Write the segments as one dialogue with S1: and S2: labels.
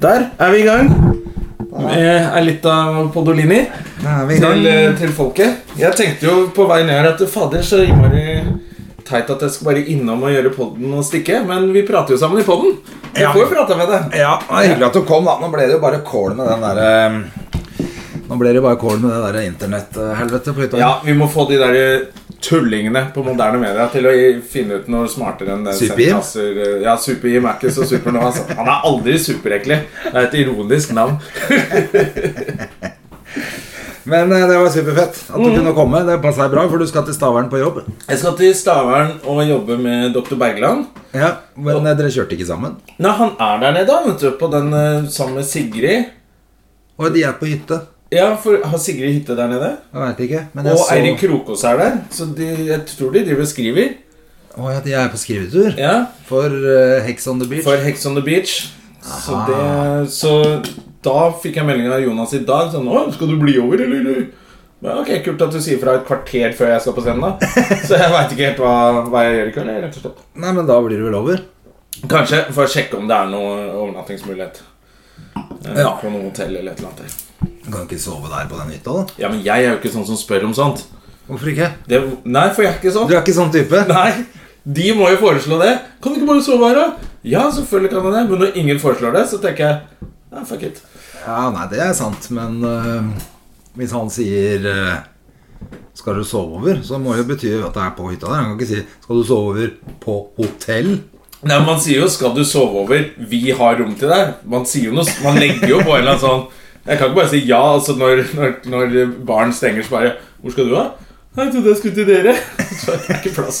S1: Der er vi i gang. Jeg er litt av Podolini til, eh, til folket. Jeg tenkte jo på vei ned her at fader, så innmari teit at jeg skal bare innom og gjøre podden og stikke. Men vi prater jo sammen i podden. Jeg
S2: Ja.
S1: får jo prate med deg.
S2: Ja, det er Hyggelig at du kom. da Nå ble det jo bare kål med den derre Nå ble det jo bare kål med det derre internetthelvetet på hytta.
S1: Ja, vi må få de der eh, tullingene på moderne media til å finne ut noe smartere enn det
S2: Super-Jim?
S1: sendkasser- Ja, Super-Jim er ikke så super nå. Altså. Han er aldri super, egentlig. Det er et ironisk navn.
S2: Men eh, det var superfett at du
S1: Mhm.
S2: kunne komme. Det passa bra, for du skal til Stavern på jobb.
S1: Jeg skal til Stavern og jobbe med dr. Bergland.
S2: Ja, Men eh, dere kjørte ikke sammen?
S1: Nei, han er der nede, da, vet du, på den eh, sammen med Sigrid.
S2: Og de er på hytte.
S1: Ja, for har Sigrid hytte der nede?
S2: Jeg veit ikke. Men jeg
S1: Og Eirin
S2: så
S1: Krokås er der, så de, jeg tror de driver og skriver.
S2: Å ja, de er på skrivetur.
S1: Ja,
S2: For eh, Hex on the Beach.
S1: For Hex on the Beach. Så, det, så da fikk jeg melding av Jonas i dag sånn Å, skal du bli over, eller? eller?» Ja, ok, Kult at du sier fra et kvarter før jeg skal på scenen, da. Så jeg veit ikke helt hva, hva jeg gjør i kveld, jeg, rett og slett.
S2: Nei, men da blir det vel over.
S1: Kanskje for å sjekke om det er noe overnattingsmulighet. Eh,
S2: Ja.
S1: På noe hotell eller et eller annet.
S2: Du kan ikke sove der på den hytta, da.
S1: Ja, men jeg er jo ikke sånn som spør om sånt.
S2: Hvorfor ikke?
S1: Det, nei, for jeg er ikke sånn.
S2: Du er ikke sånn type?
S1: Nei, De må jo foreslå det. Kan du ikke bare sove her, da? Ja, selvfølgelig kan jeg det. Men når ingen foreslår det, så tenker jeg ja, fuck it.
S2: Ja, nei, det er sant, men øh, hvis han sier øh, 'skal du sove over', så må det jo bety at det er på hytta der. Han kan ikke si 'skal du sove over på hotell'?
S1: Nei, Man sier jo 'skal du sove over', vi har rom til deg. Man sier jo noe, man legger jo på en eller annen sånn Jeg kan ikke bare si ja altså når, når, når baren stenger, så bare 'Hvor skal du, da?' Nei, Jeg trodde jeg skulle til dere. Så det er ikke plass.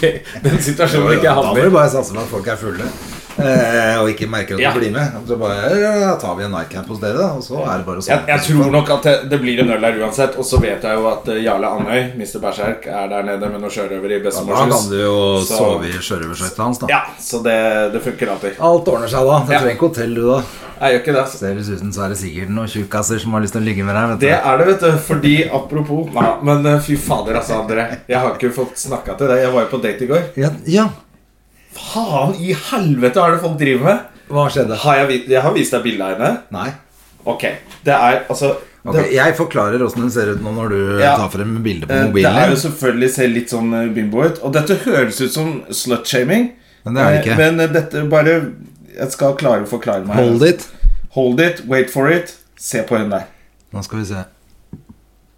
S1: Det, den situasjonen vil ikke jeg
S2: da må du
S1: havner i.
S2: bare satse på at folk er fulle. eh, og ikke merker at du
S1: Ja.
S2: blir med. Så bare ja, ja, tar vi en nightcap hos dere, da, og så er det bare å sove.
S1: Jeg, jeg tror nok at det, det blir en øl her uansett. Og så vet jeg jo at eh, Jarle Andøy, Mr. Berserk, er der nede med noen sjørøvere
S2: Da
S1: i
S2: kan
S1: bestemorshus.
S2: du jo
S1: Så-
S2: sove i sjørøverskøyta hans, da.
S1: Ja, så det, det funker alltid.
S2: Alt ordner seg da. Du
S1: Ja.
S2: trenger ikke hotell, du, da.
S1: Jeg gjør ikke det. altså.
S2: Ser det ut som så er det sikkert noen tjukkaser som har lyst til å ligge med deg. vet du.
S1: Det er det, vet du. Fordi apropos Nei, Men eh, fy fader, altså, André. Jeg har ikke fått snakka til deg. Jeg var jo på date i går.
S2: Ja, ja.
S1: Faen i helvete hva er det folk driver med?
S2: Hva skjedde?
S1: Har jeg, vi- jeg har vist deg bilde av henne.
S2: Nei.
S1: Ok. Det er altså
S2: Ok, Jeg forklarer åssen den ser ut nå når du
S1: Ja. Eh,
S2: tar frem bildet på
S1: det, det
S2: mobilen.
S1: er jo
S2: din.
S1: selvfølgelig ser litt sånn eh, bimbo ut. Og dette høres ut som slutshaming.
S2: Men det er det
S1: Eh,
S2: ikke.
S1: Men eh, dette bare Jeg skal klare å forklare meg.
S2: Hold it.
S1: Hold it, wait for it. Se på hun der.
S2: Nå skal vi se.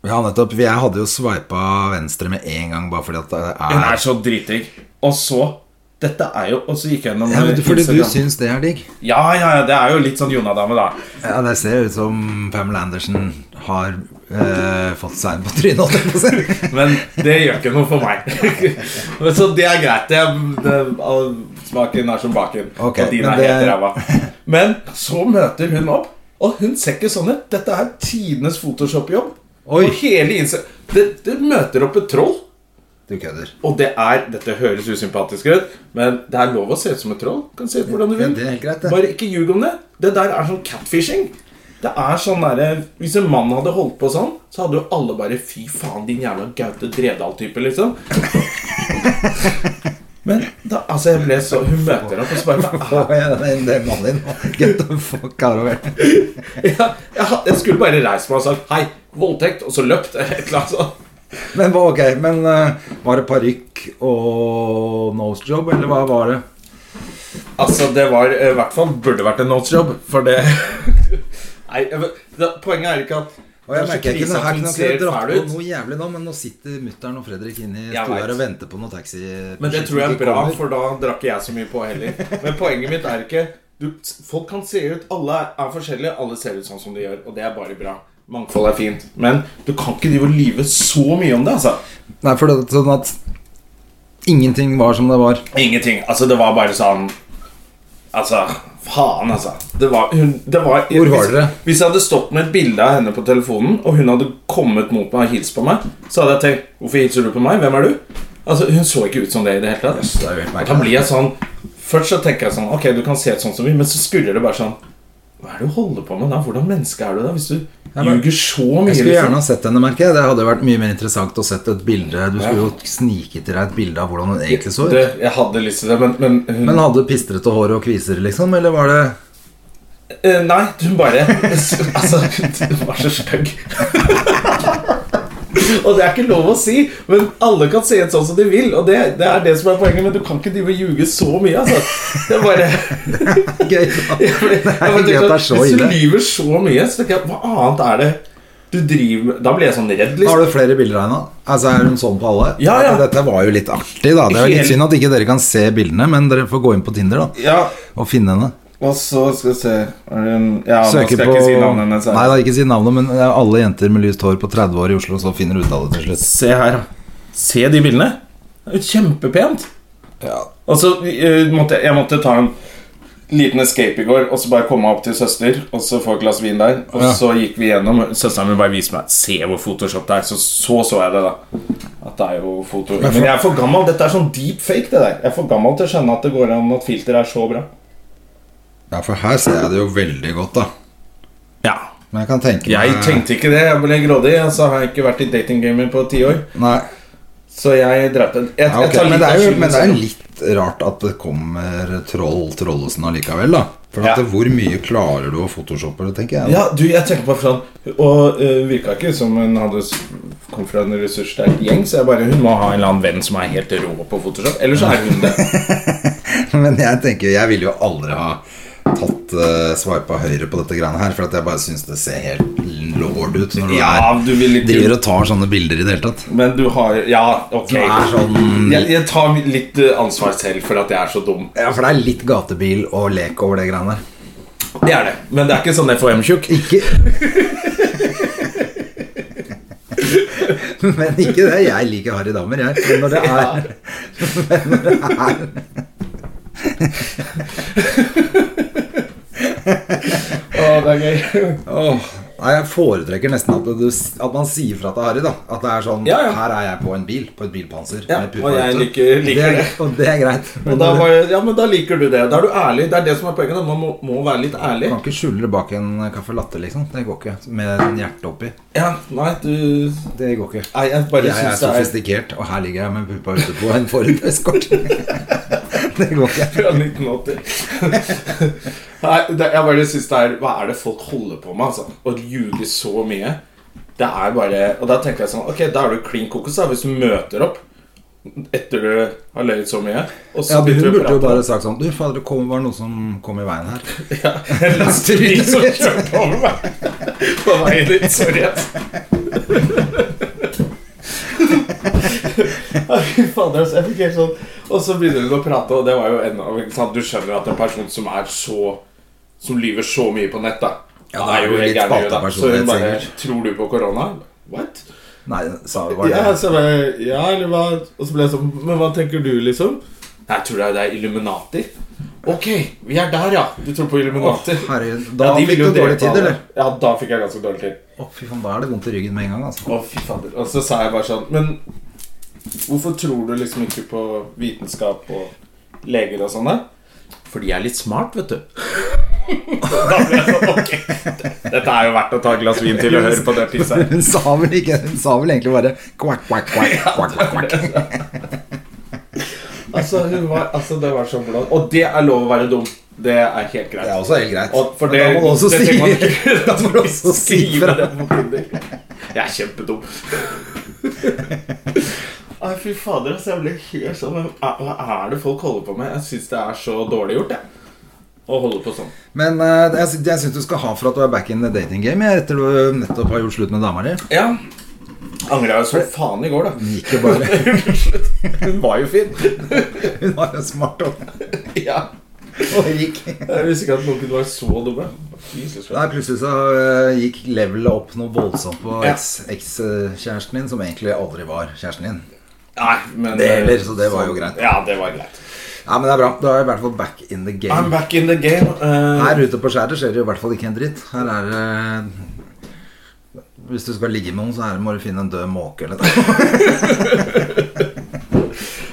S2: Ja, nettopp. Jeg hadde jo sveipa venstre med en gang, bare fordi at det
S1: Hun
S2: er,
S1: er så dritdigg. Og så Dette er jo Og så gikk jeg gjennom
S2: ja, men
S1: eh,
S2: Fordi du
S1: Instagram.
S2: syns det er digg.
S1: Ja, ja, ja, det er jo litt sånn Jonna-dame, da.
S2: Ja, Det ser ut som Pamela Andersen har eh, fått seg på trynet. holdt jeg på å si.
S1: Men det gjør ikke noe for meg. Men så det er greit. Det, det, all smaken er som baken.
S2: Ok,
S1: og din
S2: men
S1: er
S2: det-
S1: helt ræva. Men så møter hun opp, og hun ser ikke sånn ut. Dette er tidenes Photoshop-jobb.
S2: Oi.
S1: Og hele innse... Det, det møter opp et troll.
S2: Du kødder.
S1: Og det er Dette høres usympatisk ut, men det er lov å se ut som et troll. Du Kan se ut hvordan du
S2: Ja,
S1: vil.
S2: det er helt greit, det.
S1: Bare ikke ljug om det. Det der er sånn catfishing. Det er sånn derre Hvis en mann hadde holdt på sånn, så hadde jo alle bare Fy faen, din jævla Gaute Dredal-type, liksom. Men da, altså, jeg ble så Hun møter opp, og så bare "Hva
S2: Å, ja, det er- det er mannen din. Get the fuck out of here.
S1: ja, jeg, ha- jeg skulle bare reist meg og sagt 'hei, voldtekt', og så løpt. Eller et eller annet sånt.
S2: Men hva- ok, men eh, var det parykk og nose job, eller hva var det?
S1: Altså, det var eh, i hvert fall burde vært en notesjob, for det Nei, jeg vet- da- poenget er ikke at
S2: Og jeg
S1: kanskje
S2: merker ikke
S1: krisen
S2: noe
S1: at
S2: her
S1: hun
S2: kunne
S1: ser
S2: jeg dratt
S1: fæl
S2: på
S1: ut,
S2: noe jævlig nå, men nå sitter mutter'n og Fredrik inne i
S1: Jeg
S2: stua her
S1: vet.
S2: og venter på noe taxi.
S1: Men det tror jeg er
S2: Ikke
S1: bra,
S2: kommer.
S1: for da drakk ikke jeg så mye på heller. Men poenget mitt er ikke du, Folk kan se ut Alle er, er forskjellige, alle ser ut sånn som de gjør, og det er bare bra. Mangfold er fint. Men du kan ikke drive og lyve så mye om det, altså.
S2: Nei, for det er sånn at ingenting var som det var.
S1: Ingenting. Altså, det var bare sånn Altså, faen, altså. Det var, hun, det var,
S2: Hvor var dere?
S1: Hvis, hvis jeg hadde stått med et bilde av henne på telefonen, og hun hadde kommet mot meg og hilst på meg, så hadde jeg tenkt Hvorfor hilser du på meg? Hvem er du? Altså, Hun så ikke ut som det i det hele tatt.
S2: Jøss, det er jo helt merkelig.
S1: da blir jeg sånn Først så tenker jeg sånn Ok, du kan se ut sånn som vi, men så skurrer det bare sånn Hva er det du holder på med da? Hvordan menneske er du da? Hvis du
S2: men-
S1: ljuger så mye
S2: Jeg skulle
S1: liksom?
S2: gjerne ha sett henne, merker jeg. Det hadde vært mye mer interessant å sett et bilde. Du skulle jo snike til deg et bilde av hvordan hun egentlig så ut.
S1: det, Jeg hadde lyst til det, men, men hun
S2: Men hadde pistrete hår og kviser, liksom? Eller var det
S1: Eh, nei, hun bare Altså, hun var så stygg. og det er ikke lov å si, men alle kan se ut sånn som de vil. Og det, det er det som er poenget, men du kan ikke drive og ljuge så mye, altså. Det er bare
S2: gøy? da. Det er
S1: Jeg bare
S2: ikke gøy
S1: tenker
S2: at det er
S1: sånn,
S2: så
S1: Hvis du
S2: ille.
S1: lyver så mye, så tenker jeg hva annet er det du driver med? Da blir jeg sånn redd,
S2: Har
S1: liksom.
S2: du flere bilder av henne? Altså, er hun sånn på alle?
S1: Ja, ja.
S2: Dette var jo litt artig, da. Det er jo
S1: Helt-
S2: litt synd at ikke dere kan se bildene, men dere får gå inn på Tinder da
S1: Ja,
S2: og finne henne.
S1: og så skal vi se Er det en- Ja, nå
S2: Søke
S1: skal jeg
S2: på
S1: ikke si navnet hennes.
S2: Nei
S1: her.
S2: da, ikke si navnet, men det er alle jenter med lyst hår på 30 år i Oslo, så finner du ut av det til slutt.
S1: Se her, da. Se de bildene. Det er jo Kjempepent. Og så eh, måtte jeg, jeg måtte ta en liten escape i går, og så bare komme opp til søster, og så få et glass vin der. Og
S2: Ja.
S1: så gikk vi gjennom. Søsteren min bare viste meg Se hvor Photoshop det er. Så så, så jeg det, da. At det er jo foto Men jeg er for gammel. Dette er sånn deep fake, det der. Jeg er for gammel til å skjønne at det går an at filter er så bra.
S2: Ja, for her ser jeg det jo veldig godt, da.
S1: Ja.
S2: Men jeg kan tenke
S1: Jeg tenkte ikke det. Jeg ble grådig. og Så har jeg ikke vært i datinggamer på ti år.
S2: Nei.
S1: Så jeg drepte jeg,
S2: Ja, ok,
S1: jeg tar
S2: men, det
S1: litt
S2: er jo,
S1: av
S2: men det er
S1: skylden
S2: jo litt rart at det kommer troll Trollesen allikevel, da. For at
S1: Ja.
S2: hvor mye klarer du å photoshoppe det, tenker jeg. da.
S1: Ja, du, jeg tenker på Fran Og uh, virka ikke som hun hadde s- kom fra en ressurssterk gjeng, så jeg bare hun må ha en eller annen venn som er helt rå på Photoshop. Eller så er hun det.
S2: Men jeg tenker, jeg ville jo aldri ha tatt uh, swipa høyre på dette greiene her, for at jeg bare syns det ser helt lord ut når du
S1: Ja,
S2: er,
S1: du vil
S2: driver
S1: ikke
S2: og tar sånne bilder i det hele tatt.
S1: Men du har Ja, ok.
S2: Det er sånn
S1: Jeg, jeg tar litt eh, ansvar selv for at jeg er så dum.
S2: Ja, for det er litt gatebil og lek over det greiene der.
S1: Det er det. Men det er ikke sånn FHM-tjukk.
S2: Ikke Men ikke det. Jeg liker harry damer, jeg. Men når det er
S1: Det er gøy.
S2: Åh, Nei, Jeg foretrekker nesten at, du, at man sier fra til Harry. da At det er sånn
S1: Ja, ja.
S2: Her er jeg på en bil, på et bilpanser.
S1: Ja,
S2: med puta
S1: og jeg
S2: ute.»
S1: liker-
S2: det,
S1: liker
S2: er-
S1: det.
S2: Og det er greit.
S1: Og da, var, jeg- ja, men da liker du det. Da er du ærlig. Det er det som er poenget. da. Man må, må være litt ærlig.
S2: Du kan ikke skjule det bak en caffè latte, liksom. Det går ikke. Med en hjerte oppi.
S1: Ja, nei, du
S2: Det går ikke.
S1: Nei, jeg bare
S2: Jeg er
S1: syns det er
S2: sofistikert, og her ligger jeg med puppa ute på en Ford Escort. det går ikke.
S1: Fra 1980. Nei, det, jeg bare synes det er Hva er det folk holder på med, altså? Å ljuge så mye. Det er bare Og da tenker jeg sånn Ok, da er du klin kokos, da, hvis du møter opp etter du har løyet så mye. Og så
S2: Ja, men
S1: begynner
S2: Hun
S1: du å
S2: burde jo
S1: prate.
S2: bare sagt sånn Du, fader, det kom, var noe som kom i veien her.
S1: Ja, en lastebil som kjørte over meg på veien dit. Sorry, ass. Fy fader, ass. Jeg fikk helt sånn Og så begynner hun å prate, og det var jo enda ikke sant? Du skjønner at en person som er så Som lyver så mye på nett, da.
S2: Ja, da er du litt
S1: gæren i huet, da.
S2: spalta
S1: Så hun
S2: personlighet,
S1: bare
S2: sikkert.
S1: Tror du på korona? What?
S2: Nei, sa var det
S1: Ja, altså. så jeg bare, ja, eller hva Og så ble jeg sånn Men hva tenker du, liksom? Nei, jeg tror det er- det er Illuminati. Ok, vi er der, ja. Du tror på Illuminati.
S2: Herregud, da fikk du dårlig tid, eller?
S1: Ja, da fikk jeg ganske dårlig tid.
S2: Å, fy faen, da er det vondt i ryggen med en gang, altså.
S1: Å, fy fader. Og så sa jeg bare sånn Men hvorfor tror du liksom ikke på vitenskap og leger og sånn der? Fordi jeg er litt smart, vet du. da ble jeg sånn Ok, dette er jo verdt å ta et glass vin til og høre på det pisset.
S2: Hun sa vel ikke Hun sa vel egentlig bare kvakk, kvakk, kvakk, kvakk, kvakk, kvakk.
S1: Altså, hun var, altså, det var sånn blond. Og det er lov å være dum. Det er helt greit.
S2: Det er også helt greit.
S1: Og for
S2: Men
S1: det,
S2: da må du også
S1: det
S2: si
S1: trenger man ikke-
S2: Da må du også si
S1: Skrive
S2: fra.
S1: det på Tinder. Jeg er kjempedum. Nei, fy fader, altså. Jeg ble helt sånn men Hva hva er det folk holder på med? Jeg syns det er så dårlig gjort, jeg. Å holde på sånn.
S2: Men eh, jeg, sy- jeg syns du skal ha for at du er back in the dating game jeg, etter du nettopp har gjort slutt med dama di.
S1: Ja. Angra jo som faen i går, da.
S2: Ikke bare
S1: Hun var jo fin.
S2: Hun var jo smart og,
S1: Ja.
S2: og gikk.
S1: Jeg visste ikke at noen kunne være så dumme. Jesus
S2: Nei,
S1: Christ.
S2: plutselig så eh, gikk levelet opp noe voldsomt på
S1: Ja.
S2: eks- ekskjæresten din, som egentlig aldri var kjæresten din.
S1: Nei, men
S2: Det heller, eh, så det var jo greit.
S1: Ja, det var greit.
S2: Ja, men det er bra. Da er jeg i hvert fall back in the
S1: I'm
S2: game.
S1: back in the game. eh,
S2: Her ute på skjæret skjer det jo i hvert fall ikke en dritt. Her er det eh, Hvis du skal ligge med noen, så er det, må du finne en død måke eller noe.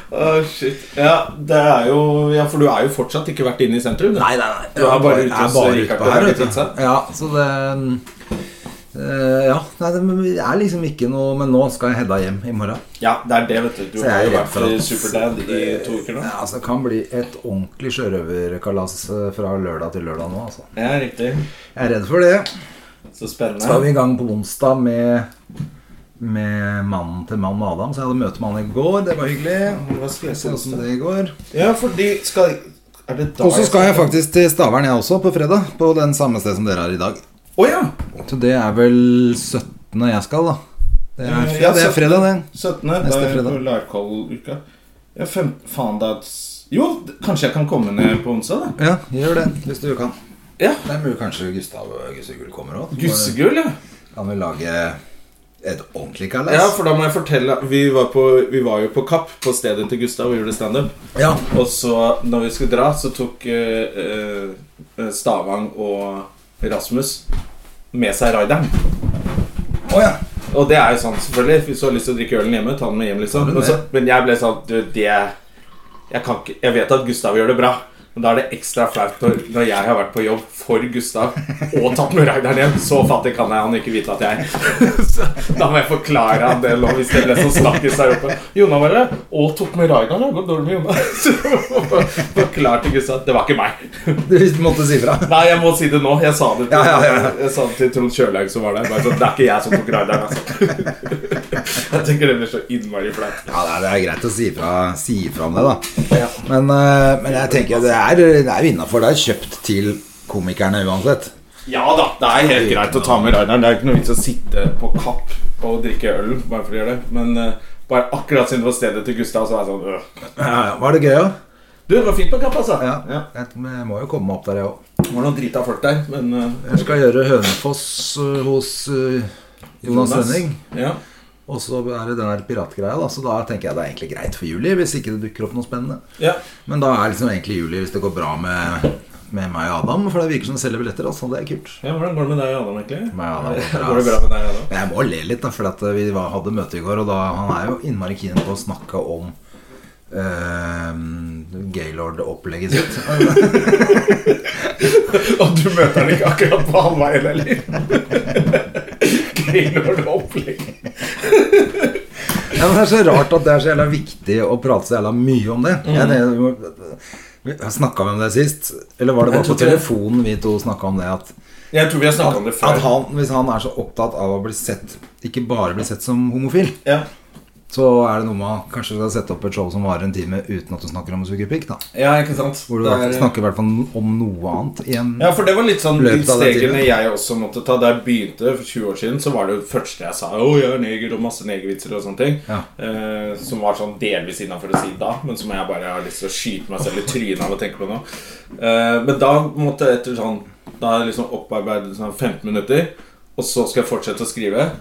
S1: Åh, ah, shit. Ja, det er jo Ja, for du er jo fortsatt ikke vært inne i sentrum? du. Du er bare ute og ser
S2: ute
S1: Rikard
S2: på her,
S1: Berger
S2: vet du.
S1: Pizza.
S2: Ja, så det eh, Ja. Nei, det er liksom ikke noe Men nå skal jeg Hedda hjem i morgen.
S1: Ja, det er det, vet du. Du
S2: Så jeg
S1: har
S2: er
S1: jo
S2: redd
S1: vært
S2: for at-
S1: superdad i to uker nå.
S2: Ja, altså, det kan bli et ordentlig sjørøverkalas eh, fra lørdag til lørdag nå, altså.
S1: Ja, riktig.
S2: Jeg er redd for det.
S1: Så
S2: Så er vi
S1: spennende.
S2: i gang på onsdag med, med mannen til mannen Adam. Så jeg hadde møte med han i går. Det var hyggelig.
S1: Hva skal jeg
S2: Se
S1: si om
S2: hvordan
S1: det?
S2: det går.
S1: Ja, fordi skal Er det da
S2: Og så skal jeg faktisk til Stavern, jeg også, på fredag. På den samme sted som dere er i dag.
S1: Å ja!
S2: Så det er vel 17. jeg skal, da. Det er,
S1: Eh,
S2: ja, det er fredag, det.
S1: 17.
S2: Neste
S1: Da er jeg på
S2: fredag.
S1: Livecoll-uka. Ja, fem, faen, da Jo, d- kanskje jeg kan komme ned på onsdag, da.
S2: Ja, gjør det hvis du kan.
S1: Ja.
S2: Det er mulig kanskje Gustav og Gussegull kommer òg.
S1: Gussegull, ja.
S2: Kan vi lage et ordentlig kalas?
S1: Ja, for da må jeg fortelle Vi var, på, vi var jo på Kapp, på stedet til Gustav, og gjorde standup.
S2: Ja.
S1: Og så, når vi skulle dra, så tok eh, eh, Stavang og Rasmus med seg rideren.
S2: Å ja.
S1: Og det er jo sånn, selvfølgelig. Hvis du har lyst til å drikke ølen hjemme, ta den med hjem, liksom.
S2: Har du
S1: Men, så,
S2: det?
S1: men jeg ble sånn Du, det jeg, kan ikke, jeg vet at Gustav gjør det bra, men da er det ekstra flaut når, når jeg har vært på jobb for Gustav og tatt med rideren hjem. Så fattig kan jeg han ikke vite at jeg er. Så Da må jeg forklare han det nå, hvis det ble sånn snakkis der oppe. Jonna var det, og tok med rideren. Det går dårlig med Jonna. Så jeg må forklare til Gustav det var ikke meg.
S2: Du måtte si fra.
S1: Nei, jeg må si det nå. Jeg sa det til,
S2: Ja, ja, ja.
S1: Jeg sa det til Trond Kjørlaug som var der. Bare sånn, det er ikke jeg som tok rideren, altså. Jeg tenker det blir så innmari flaut.
S2: Ja, det er, det er greit å si fra, si fra om det, da. Men, eh, men jeg tenker det er, det er innafor. Det er kjøpt til komikerne uansett.
S1: Ja da, det er helt greit å ta med rideren. Det er ikke noe vits å sitte på Kapp og drikke øl bare for å gjøre det. Men eh, bare akkurat siden det var stedet til Gustav, så er jeg sånn øh.
S2: Var det gøy, da?
S1: Du, det var fint på Kapp, altså.
S2: Ja. Jeg, men jeg må jo komme opp der, jeg òg.
S1: Det var noen drita folk der, men eh,
S2: Jeg skal gjøre Hønefoss eh, hos eh, Jonas Rønning.
S1: Ja.
S2: Og så er det den der piratgreia, da. Så da tenker jeg det er egentlig greit for juli. Hvis ikke det dukker opp noe spennende.
S1: ja.
S2: Men da er liksom egentlig juli hvis det går bra med, med meg og Adam. For det virker som de selger billetter. Altså, det er kult.
S1: ja, Hvordan går det med deg og Adam, egentlig?
S2: Med Adam, og Therese.
S1: Går det bra med deg, Adam?
S2: Men Jeg må le litt, da, for at vi var, hadde møte i går, og da, han er jo innmari keen på å snakke om eh, Gaylord-opplegget sitt.
S1: Og du møter han ikke akkurat på halvveien heller. Gaylord opplegg.
S2: Ja, men det er så rart at det er så jævla viktig å prate så jævla mye om det. Jeg, det vi snakka vi om det sist? Eller var det
S1: Jeg
S2: bare på
S1: tror ikke det.
S2: telefonen vi to snakka om det? At,
S1: Jeg tror vi har snakka om det
S2: at
S1: før.
S2: han, hvis han er så opptatt av å bli sett, ikke bare bli sett som homofil,
S1: Ja,
S2: så er det noe med å kanskje skal sette opp et show som varer en time uten at du snakker om å suge pikk, da.
S1: ja ikke sant?
S2: Hvor du i
S1: Det
S2: hvert fall
S1: er-
S2: snakker i hvert fall om noe annet. I en,
S1: ja, for det var litt sånn de
S2: Løpet av den
S1: stegene
S2: tiden.
S1: jeg også måtte ta. Da jeg begynte for 20 år siden, så var det jo det første jeg sa Å, jeg er neger og masse negervitser og sånne ting.
S2: Ja.
S1: Eh, som var sånn delvis innafor å si da, men som jeg bare har lyst til å skyte meg selv i trynet av å tenke på nå. Eh, men da måtte jeg etter sånn Da har jeg liksom opparbeidet sånn 15 minutter, og så skal jeg fortsette å skrive.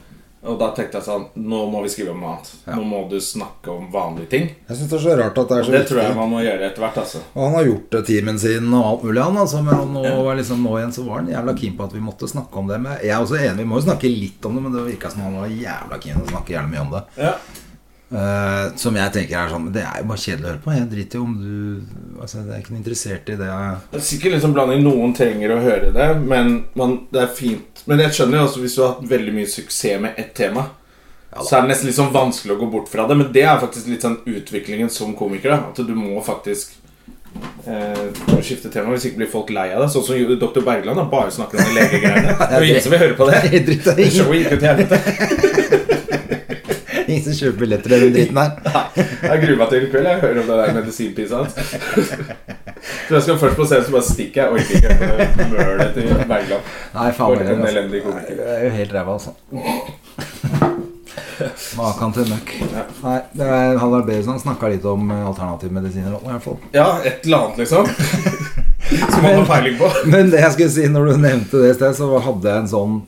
S1: Og da tenkte jeg sånn Nå må vi skrive om noe annet. Nå må du snakke om vanlige ting.
S2: Jeg syns det er så rart at det er så
S1: Det tror jeg
S2: viktig.
S1: man må gjøre etter hvert, altså.
S2: Og han har gjort det timen sin og alt mulig, han. Altså, men nå, var liksom, nå igjen så var han jævla keen på at vi måtte snakke om det. Men jeg er også enig, vi må jo snakke litt om det, men det virka som han var jævla keen på å snakke jævla mye om det.
S1: Ja.
S2: Eh, som jeg tenker er sånn Det er jo bare kjedelig å høre på. Jeg driter jo om du altså, Jeg er ikke noe interessert i det.
S1: Det er sikkert liksom blanding. Noen trenger å høre det, men man, det er fint. Men jeg skjønner jo også hvis du har hatt veldig mye suksess med ett tema, så er det nesten litt sånn vanskelig å gå bort fra det. Men det er faktisk litt sånn utviklingen som komiker. Da. At du må faktisk eh, må skifte tema, hvis ikke blir folk lei av det. Sånn som dr. Bergland da, bare snakker om de legegreiene. Det er jo ingen som vil høre på det.
S2: Jeg driter
S1: Det
S2: i
S1: showet gikk jo til helvete.
S2: ingen som kjøper billetter til den driten her.
S1: Jeg gruer meg til i kveld. Jeg hører om det der medisinpisa hans. Så jeg skal først på scenen, så bare stikker jeg. Orker ikke høre på det mølet til Bergland.
S2: Nei, faen
S1: For
S2: heller,
S1: en
S2: altså.
S1: elendig komiker.
S2: Nei, Jeg er jo helt ræva, altså. Makan til møkk. Nei, det er- Halvard Bergsson snakka litt om eh, alternative medisiner også, i hvert fall.
S1: Ja, et eller annet, liksom. Som man har peiling på.
S2: Men det jeg skulle si når du nevnte det i sted, så hadde jeg en sånn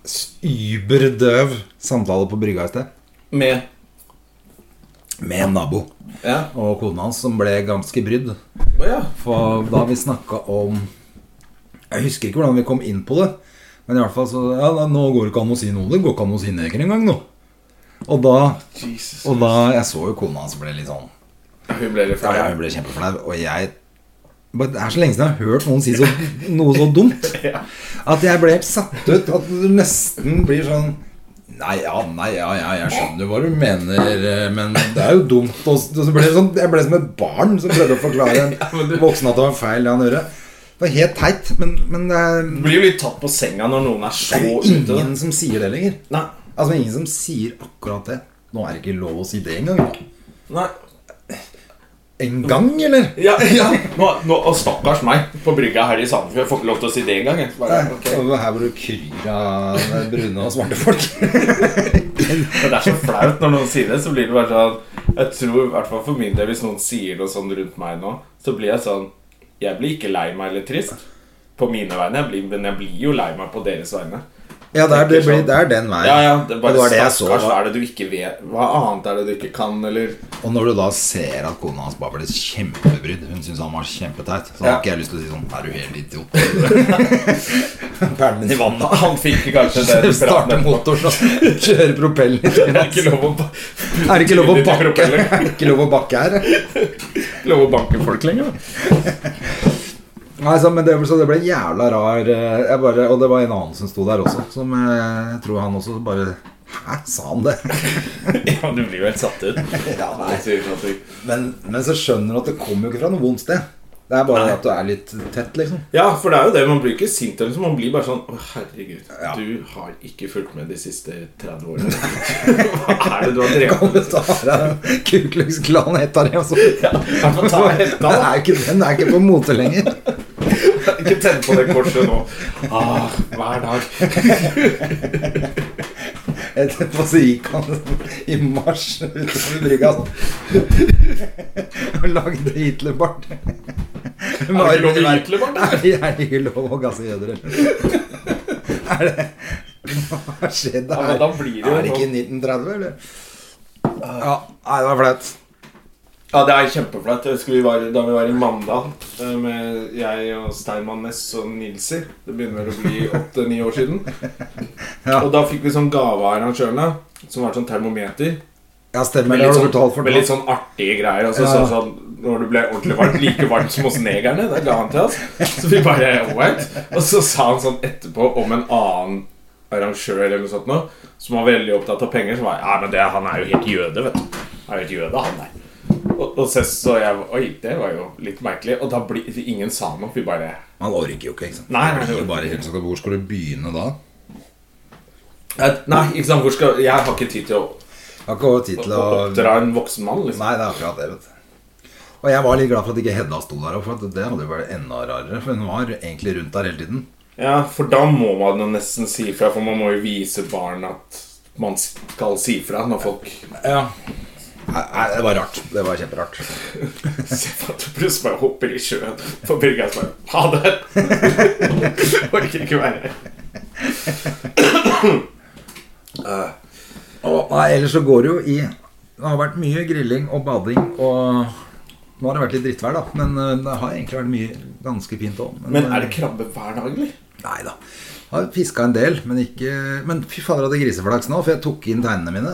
S2: s- überdøv samtale på brygga i sted.
S1: Med
S2: med en nabo
S1: Ja.
S2: og kona hans, som ble ganske brydd.
S1: Å ja.
S2: For da vi snakka om Jeg husker ikke hvordan vi kom inn på det. Men i hvert fall så ja, da, Nå går det ikke an å si noe. Det går ikke an å si neger engang nå. Og da,
S1: Jesus.
S2: og da Jeg så jo kona hans ble litt sånn
S1: Hun ble litt
S2: ja,
S1: flau.
S2: Hun ble kjempeflau. Og jeg bare, Det er så lenge siden jeg har hørt noen si så, noe så dumt. At jeg ble helt satt ut. At du nesten blir sånn Nei, ja, nei, ja, ja jeg skjønner hva du mener, eh, men det er jo dumt. Og så- og så ble det sånn, jeg ble som et barn som prøvde å forklare en voksen at det var feil, det han gjorde. Det var helt teit, men, men det er,
S1: Du blir jo litt tatt på senga når noen er
S2: det
S1: så
S2: er jo
S1: ute.
S2: ingen som sier det lenger.
S1: da. Nei.
S2: Altså Ingen som sier akkurat det. Nå er det ikke lov å si det engang. da.
S1: Nei.
S2: En gang, eller?
S1: Ja, ja. Nå, nå, og stakkars meg på brygga her i Sandefjord. Jeg får ikke lov til å si det engang. jeg. Bare,
S2: Nei,
S1: ok.
S2: og Her hvor du kryr av brune og svarte folk.
S1: Men det er så flaut når noen sier det. Så blir det bare sånn Jeg tror, i hvert fall for min del, hvis noen sier noe sånn rundt meg nå, så blir jeg sånn Jeg blir ikke lei meg eller trist på mine vegne, jeg blir, men jeg blir jo lei meg på deres vegne.
S2: Ja, det er, det blir, det er den veien.
S1: Ja, ja, det er
S2: Og
S1: bare
S2: det var det jeg så.
S1: stakkars, hva er det du ikke vet? Hva annet er det du ikke kan, eller
S2: Og når du da ser at kona hans bare ble kjempebrydd Hun syntes han var kjempeteit. Så har
S1: Ja.
S2: ikke jeg lyst til å si sånn Er du helt idiot? Perlen min i vannet.
S1: Han fikk kanskje det
S2: Starte motoren og kjøre propellen i
S1: Det er
S2: trynet.
S1: ikke lov å, ba-
S2: Er det ikke lov å
S1: Litt i
S2: bakke?
S1: propellen.
S2: Er det ikke lov å bakke her?
S1: lov å banke folk lenger, da.
S2: Nei, så, men det, så det ble jævla rar eh, jeg bare, Og det var en annen som sto der også, som eh, jeg tror han også bare Hæ, sa han det?
S1: Ja, du blir jo helt satt ut.
S2: Ja,
S1: Nei, sier ikke noe.
S2: Men, men så skjønner du at det kommer jo ikke fra noe vondt sted. Det er bare at du er litt tett, liksom.
S1: Ja, for det er jo det. Man blir ikke sint. eller så, Man blir bare sånn Å, herregud.
S2: Ja.
S1: Du har ikke fulgt med de siste 30 årene. Hva er det du har drevet
S2: Kan
S1: med?
S2: du ta deg Ku Klux Klan hetta di, og så
S1: Ja, jeg får ta hetta,
S2: Den
S1: da.
S2: er ikke, den er ikke på mote lenger.
S1: Ikke tenn på det korset nå. Ah, hver dag.
S2: Etterpå så gikk han i marsj utover brygga sånn. og lagde Hitlerbart.
S1: Er det ikke lov i Hitlerbart,
S2: Er
S1: eller?
S2: det er det ikke lov å gasse jøder? eller? Er det Hva har skjedd
S1: Ja,
S2: her?
S1: men da blir det jo sånn.
S2: er det ikke 1930, eller? Ja, nei, det var flaut.
S1: Ja, det er kjempeflaut. Jeg husker vi var, da vi var i Mandal eh, med jeg og Steinmann Ness og Nilsi Det begynner vel å bli åtte-ni år siden.
S2: Ja.
S1: Og da fikk vi sånn gave av arrangørene, som var sånn termometer.
S2: Ja, stemmer.
S1: Med
S2: Det har
S1: litt,
S2: du
S1: sånn,
S2: fortalt for
S1: med litt sånn artige greier. Og så
S2: Ja.
S1: sa han sånn Når det ble ordentlig varmt, like varmt som hos negerne. Det ga han til oss. Så vi bare What? Og så sa han sånn etterpå om en annen arrangør eller noe sånt noe, som var veldig opptatt av penger, som var Ja, men det, han er jo helt jøde, vet du. Han er jo helt jøde, han der. Og, og så så jeg Oi, det var jo litt merkelig. Og da blir ingen sa noe. Vi bare
S2: sånn- Man orker jo ikke, ikke sant.
S1: Nei,
S2: Det
S1: nei,
S2: blir jo
S1: nei.
S2: bare helt sånn, Hvor skal du begynne da?
S1: «Eh, Nei, ikke sant, hvor skal Jeg har ikke tid til å,
S2: Jeg har ikke tid til
S1: å
S2: å
S1: oppdra en voksen mann, liksom.
S2: Nei, det er akkurat det, vet du. Og jeg var litt glad for at ikke Hedda sto der, for at det hadde jo vært enda rarere. For hun var egentlig rundt der hele tiden.
S1: Ja, for da må man jo nesten si fra, for man må jo vise barn at man skal si fra når folk
S2: Ja. Nei, nei, det var rart. Det var kjemperart.
S1: ser på at du plutselig bare hopper i sjøen på brygga og så bare Ha det! Orker ikke være her.
S2: Og, nei, ellers så går det jo i Det har vært mye grilling og bading og Nå har det vært litt drittvær, da, men eh, det har egentlig vært mye ganske fint eh, òg.
S1: Men er det krabbe hver dag, eller?
S2: Nei da. Har fiska en del, men ikke Men fy fader, jeg hadde griseflaks nå, for jeg tok inn teinene mine.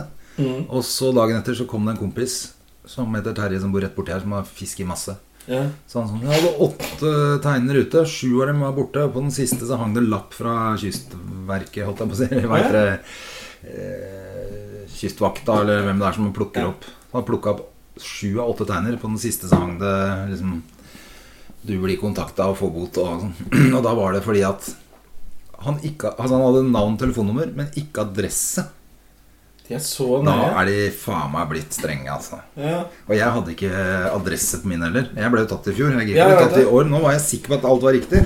S2: Og så dagen etter så kom det en kompis som heter Terje, som bor rett borti her, som har fisket masse.
S1: Ja.
S2: Så han sånn, Jeg hadde åtte teiner ute, sju av dem var borte. og På den siste så hang det lapp fra Kystverket, holdt jeg på å si. Hva heter det? Eh, Kystvakta, eller hvem det er som plukker opp. Han plukka opp sju av åtte teiner. På den siste så hang det liksom Du blir kontakta og får bot og sånn. Og da var det fordi at han, ikke, altså han hadde navn og telefonnummer, men ikke adresse.
S1: De er så
S2: Da
S1: nøye.
S2: er de faen meg blitt strenge, altså.
S1: Ja.
S2: Og jeg hadde ikke adresse på min heller. Jeg ble jo tatt i fjor. Jeg gikk
S1: Ja,
S2: jo
S1: jeg vet
S2: tatt i
S1: det.
S2: år. Nå var jeg sikker på at alt var riktig.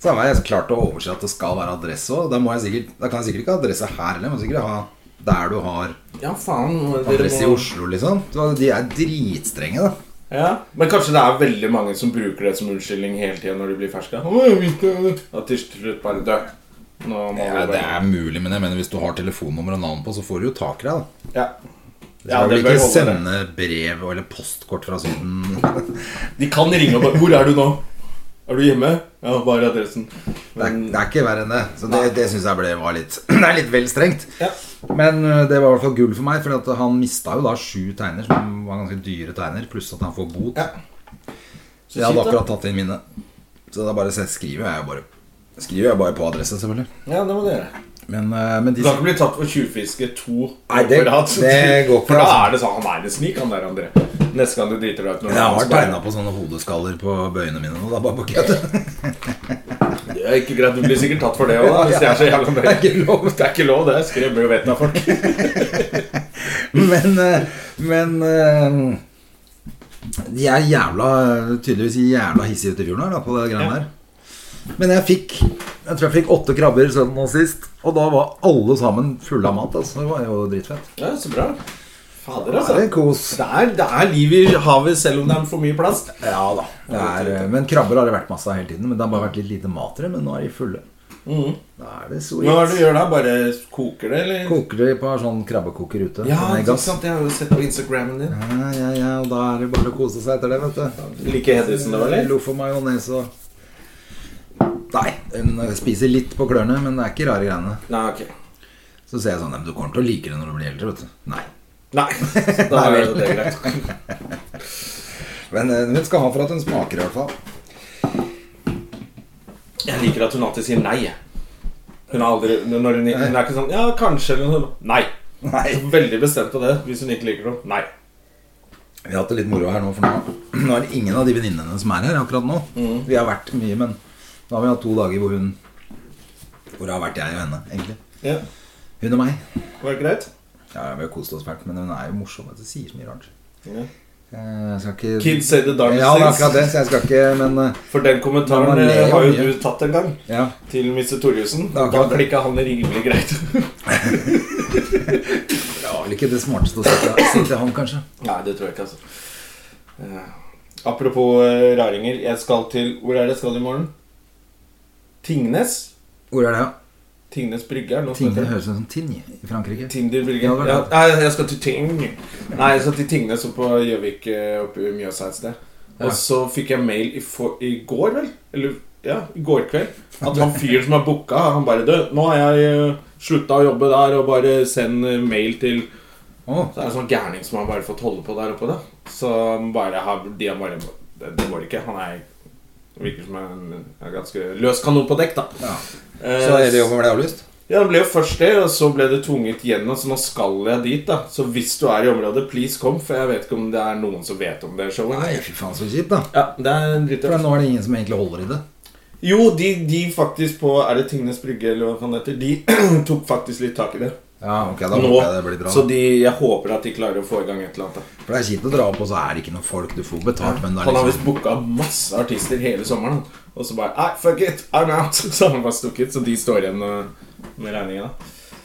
S2: Så da var jeg klart å overse at det skal være adresse òg. Da, må jeg sikkert- da kan jeg sikkert ikke ha adresse her heller. Jeg må sikkert ha der du har
S1: ja, faen. Dere
S2: adresse i
S1: må
S2: Oslo, liksom. Så de er dritstrenge, da.
S1: ja. Men kanskje det er veldig mange som bruker det som unnskyldning hele tida når de blir ferska? Å, jeg visste det. At til slutt bare dø. Nå må
S2: Ja,
S1: vi
S2: det
S1: bare
S2: er mulig, men jeg mener hvis du har telefonnummer og navn på, så får du jo tak i deg, da.
S1: Ja.
S2: Du
S1: Ja,
S2: skal
S1: det
S2: vel
S1: bør
S2: ikke
S1: holde, det.
S2: sende brev eller postkort fra Syden
S1: De kan ringe og bare 'Hvor er du nå?' 'Er du hjemme?' Ja, bare adressen.
S2: Det
S1: Mm.
S2: er, det er ikke verre enn det. Så det, det syns jeg ble, var litt Det er litt vel strengt. Men øh, det var i hvert fall gull for meg, for at han mista jo da sju tegner, som var ganske dyre tegner, pluss at han får bot. Så jeg hadde
S1: kjipt, da.
S2: akkurat tatt inn mine. Så da bare se- skriver jeg jo bare Skriver jeg bare på adresse, selvfølgelig.
S1: Ja, det må du gjøre.
S2: Men, øh, men
S1: Du
S2: de
S1: kan ikke bli tatt for tjuvfiske to
S2: Nei, det-
S1: over rad.
S2: det går ikke,
S1: For da
S2: altså.
S1: er det sånn Han er en snik, han der, André. Neste gang du driter deg ut når
S2: Jeg har
S1: du er
S2: tegna på sånne hodeskaller på bøyene mine. Og da bare på kødd.
S1: Det er ikke greit, Du blir sikkert tatt for det òg, hvis det er så jævla
S2: Det er ikke lov.
S1: Det er ikke lov, det. Skremmer jo vettet av folk.
S2: Men, eh, men eh, De er jævla tydeligvis jævla hissige ute i fjorden her, da, på det greiene der. Men jeg fikk Jeg tror jeg fikk åtte krabber sånn nå sist, og da var alle sammen fulle av mat. Altså. Det var jo dritfett.
S1: Ja, så bra. Fader,
S2: Det
S1: altså.
S2: er kos.
S1: Det er, det er liv i havet selv om det er for mye plast.
S2: Ja da. Det er, eh, men krabber har det vært masse av hele tiden. Men det har bare vært litt lite mat i det. Men nå er de fulle. Da er det
S1: Men Mm. Hva er det du
S2: sweet.
S1: gjør da? Bare koker det, eller?
S2: Koker de på sånn krabbekoker ute?
S1: Ja,
S2: sånn i
S1: ikke
S2: gass.
S1: sant. Jeg har jo sett på Instagrammen din.
S2: Ja, ja, ja, og da er det bare å kose seg etter det, vet du.
S1: Liker Hedvigsen det, eller?
S2: Loff og majones og Nei, hun spiser litt på klørne, men det er ikke rare greiene.
S1: Nei, ok.
S2: Så ser jeg sånn "Nei, men Du kommer til å like det når du blir eldre, vet du. Nei.
S1: Nei, så da
S2: Nei,
S1: er
S2: vel.
S1: jo det greit.
S2: Men eh, hun skal ha for at hun smaker, i hvert fall.
S1: Jeg liker at hun alltid sier nei. Hun er aldri når hun, hun er ikke sånn Ja, kanskje, eller noe. Nei.
S2: Nei.
S1: Veldig bestemt på det hvis hun ikke liker noe. Nei.
S2: Vi har hatt det litt moro her nå, for nå, nå er det ingen av de venninnene som er her akkurat nå.
S1: Mm.
S2: Vi har vært mye, men nå har vi hatt to dager hvor hun Hvor det har vært jeg og henne, egentlig.
S1: Ja,
S2: Hun og meg.
S1: Var det greit?
S2: Ja, Vi har kost oss fælt, men hun er jo morsom. vet du, Sier så mye rart.
S1: Ja.
S2: Eh, Jeg skal ikke
S1: Kids say the darn
S2: Ja, det er
S1: things.
S2: akkurat det, så jeg skal ikke Men eh,
S1: For den kommentaren
S2: Men man ler
S1: eh,
S2: jo
S1: har jo
S2: mye.
S1: du tatt en gang.
S2: ja.
S1: Til Mr. Thorjussen.
S2: Det er
S1: Da
S2: akkurat det.
S1: klikka han rimelig greit.
S2: Det var vel ikke det smarteste å si til, si til han, kanskje.
S1: Nei, det tror jeg ikke, altså. Eh, apropos eh, raringer. Jeg skal til Hvor er det jeg skal i morgen? Tingnes?
S2: Hvor er det?
S1: Tingnes brygge? er det noe som
S2: Tingne
S1: heter?
S2: høres ut som Tinj i Frankrike.
S1: Tinder brygge.
S2: Ja, det var
S1: Ja,
S2: det.
S1: nei, jeg skal til Ting. Nei, jeg skal til Tingnes og på Gjøvik eh, oppe i Mjøsa et sted.
S2: Ja.
S1: Og så fikk jeg mail i, for, i går, vel? Eller ja, i går kveld. At han fyren som har booka, han bare Du, nå har jeg slutta å jobbe der, og bare send eh, mail til
S2: Å,
S1: Så er det sånn gærning som har bare fått holde på der oppe da Som bare har De har bare Det det går ikke Han er Virker som en, en ganske løs kanon på dekk da
S2: ja.
S1: Eh,
S2: Så er det jobben hvor det er avlyst?
S1: Ja, det ble jo først det Og så ble det tvunget gjennom Så nå skal jeg dit da Så hvis du er i området Please kom For jeg vet ikke om det er noen som vet om det showet
S2: Nei, fy faen, så kjipt, da.
S1: Ja, det er en dritt
S2: For nå er det ingen som egentlig holder i det.
S1: Jo, de, de faktisk på Er det Tingnes Brygge eller hva faen det heter De tok faktisk litt tak i det
S2: Ja, ok, da
S1: Nå
S2: håper jeg det blir bra.
S1: Så de, jeg håper at de klarer å få i gang et eller annet da
S2: For det er kjipt å dra opp, og så er det ikke noe folk. Du får betalt, men det
S1: Han
S2: er
S1: har visst
S2: liksom
S1: booka masse artister hele sommeren. Og så bare Nei, fuck it, I'm out! Så har han bare stukket. Så de står igjen eh, med regninga.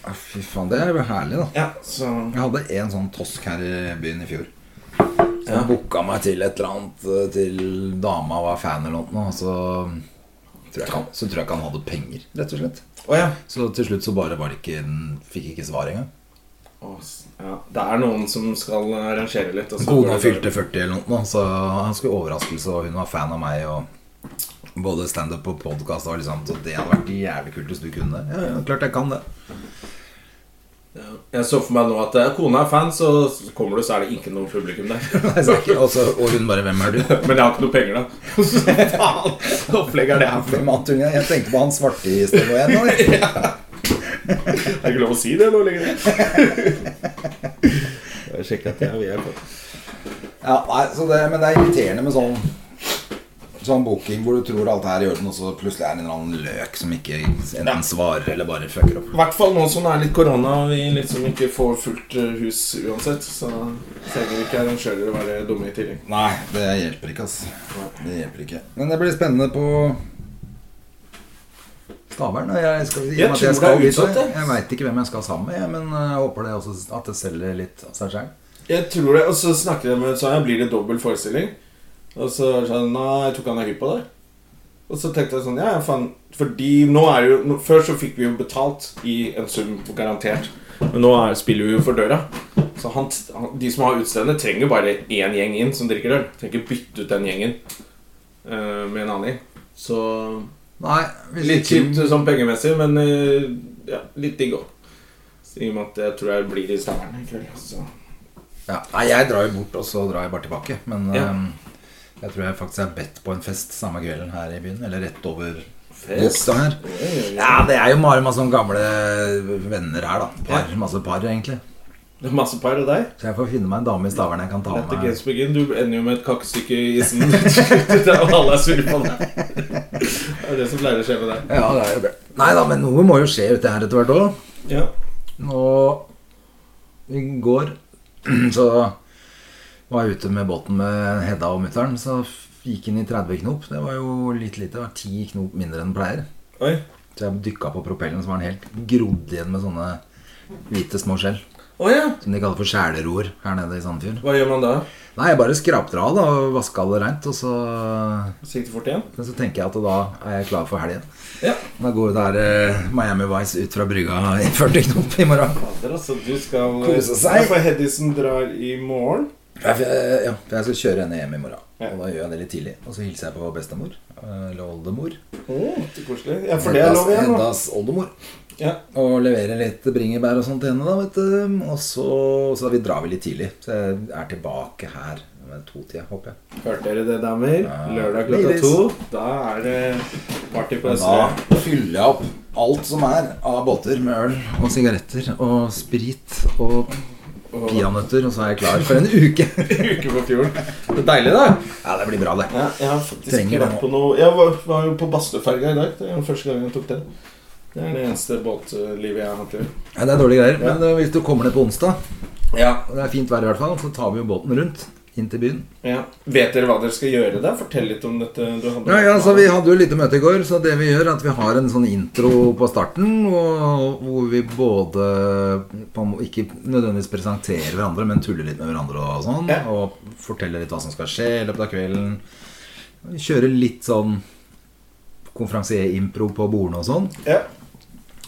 S2: Ja, Fy faen, det er jo herlig, da.
S1: Ja, så
S2: Jeg hadde en sånn tosk her i byen i fjor. Som booka meg til et eller annet eh, til dama var fan eller noe, og så tror, jeg ikke han, så tror jeg ikke han hadde penger, rett og slett.
S1: Å ja.
S2: Så til slutt så bare var det ikke Fikk ikke svar engang.
S1: Å, s- ja. Det er noen som skal arrangere litt. og så går
S2: Kona
S1: det
S2: fylte 40 eller noe, så han skulle overraskelse, og hun var fan av meg. Og både standup og podkast og liksom Så det hadde vært jævlig kult hvis du kunne det. Ja, ja, klart jeg kan det.
S1: dårlig. Jeg så for meg nå at eh, kona er fan, så kommer du, så er det ikke noe publikum der.
S2: Nei, så ikke- Og, så, og hun bare 'Hvem er du?'
S1: Men jeg har ikke noe penger, da. Så faen! Opplegget er det her.
S2: Hvem annet unge? Jeg tenkte på han svarte i sted og jeg nå. jeg.
S1: Det er ikke lov å si det nå lenger. Jeg sjekker at jeg er på.
S2: Ja, nei, så det, men det er irriterende med sånn Sånn booking hvor du tror alt er i orden, og så plutselig er det en eller annen løk som ikke enten svarer eller bare fucker opp.
S1: I hvert fall nå som det er litt korona og vi liksom ikke får fullt eh, hus uansett, så trenger ikke arrangører å være dumme i tillegg.
S2: Nei, det hjelper ikke, altså. Det hjelper ikke. Men det blir spennende på Stavern. og Jeg, skal, i og
S1: Jeg
S2: med at
S1: tror
S2: jeg, skal
S1: det er
S2: dit, jeg,
S1: utsatt, det.
S2: jeg veit ikke hvem jeg skal sammen med, jeg, men eh, jeg håper det også at det selger litt av seg sjøl.
S1: Jeg tror det, Og så snakket jeg med Sonja, blir det dobbel forestilling? Og så sa hun nei, jeg tror ikke han er hypp på det. Og så tenkte jeg sånn, ja, ja, faen Fordi nå er det jo nå, Før så fikk vi jo betalt i en sum garantert. Men nå er, spiller vi jo for døra. Så Så han, han, de som har utestedene, trenger jo bare én gjeng inn som drikker øl. Trenger ikke bytte ut den gjengen eh, med en annen gjeng. Så
S2: Nei, hvis
S1: litt
S2: ikke-
S1: kjipt sånn pengemessig, men eh, ja, litt digg òg. I og med at jeg tror jeg blir i Stavern i kveld. altså. Så.
S2: Ja, nei, jeg drar jo bort, og så drar jeg bare tilbake. Men
S1: Ja.
S2: ehm, jeg tror jeg faktisk er bedt på en fest samme kvelden her i byen. Eller rett over
S1: Fest?
S2: Bogstad her. Ja, det er jo bare masse sånne gamle venner her, da. Par,
S1: Ja.
S2: Masse par, egentlig.
S1: Det er masse par og deg.
S2: Så jeg får finne meg en dame i Stavern jeg kan ta
S1: Etter
S2: med meg.
S1: Games Begin, du ender jo med et kakkestykke i isen. Der alle er sure på deg. Det er det som pleier å skje med deg.
S2: Ja, det er jo bra. Nei da, men noe må jo skje ute her etter hvert òg.
S1: Ja.
S2: Og i går så var jeg ute med båten med Hedda og mutter'n. Så gikk inn i 30 knop. Det var jo litt lite. Det var 10 knop mindre enn det pleier.
S1: Oi.
S2: Så jeg dykka på propellen, så var den helt grodd igjen med sånne hvite små skjell.
S1: Å ja.
S2: Som de kaller for skjæleror her nede i Sandefjord.
S1: Hva gjør man da?
S2: Nei, jeg bare skrapte det av da, og vaska det reint. Og så,
S1: Sikte fort igjen?
S2: men så tenker jeg at da er jeg klar for helgen.
S1: Ja.
S2: Da går det der eh, Miami Vice ut fra brygga i 40 knop i morgen.
S1: Fader, altså. Du skal
S2: Kose seg.
S1: Ja, for Hedison drar i morgen.
S2: Ja, for jeg, ja, for jeg skal kjøre henne hjem i morgen.
S1: Ja.
S2: Og da gjør jeg det litt tidlig. Og så hilser jeg på bestemor. eh, Eller oldemor.
S1: Å, så koselig. Ja, for det er lov igjen, da.
S2: Heddas oldemor.
S1: Ja.
S2: Og leverer litt bringebær og sånt til henne, da, vet du. Og så, så vi drar vi litt tidlig. Så jeg er tilbake her ved to-tida, håper jeg.
S1: Hørte dere det, damer?
S2: Ja.
S1: Lørdag klokka
S2: Ladies.
S1: to. Da er det party på
S2: Da
S1: Østre.
S2: fyller jeg opp alt som er av båter med øl og sigaretter og sprit og peanøtter, og så er jeg klar for en uke.
S1: Uke på fjorden. Det er deilig, da.
S2: ja, det blir bra, det.
S1: Ja, jeg har faktisk
S2: Trenger
S1: ikke vært
S2: det.
S1: på noe Jeg var, var jo på Bastøferga i dag. Det er den første gangen jeg tok den. Det er det eneste båtlivet jeg har hatt. i år.
S2: Ja, det er dårlige greier. Men eh, hvis du kommer ned på onsdag,
S1: Ja.
S2: og det er fint vær i hvert fall, så tar vi jo båten rundt inn til byen.
S1: Vet dere hva dere skal gjøre der? Fortell litt om dette du hadde.
S2: Ja, ja, så altså, Vi hadde jo et lite møte i går, så det vi gjør er at vi har en sånn intro på starten. Og, hvor vi både på, en må- ikke nødvendigvis presenterer hverandre, men tuller litt med hverandre og sånn.
S1: Ja.
S2: Og forteller litt hva som skal skje i løpet av kvelden. Vi Kjører litt sånn konferansier-impro på bordene og sånn.
S1: Ja.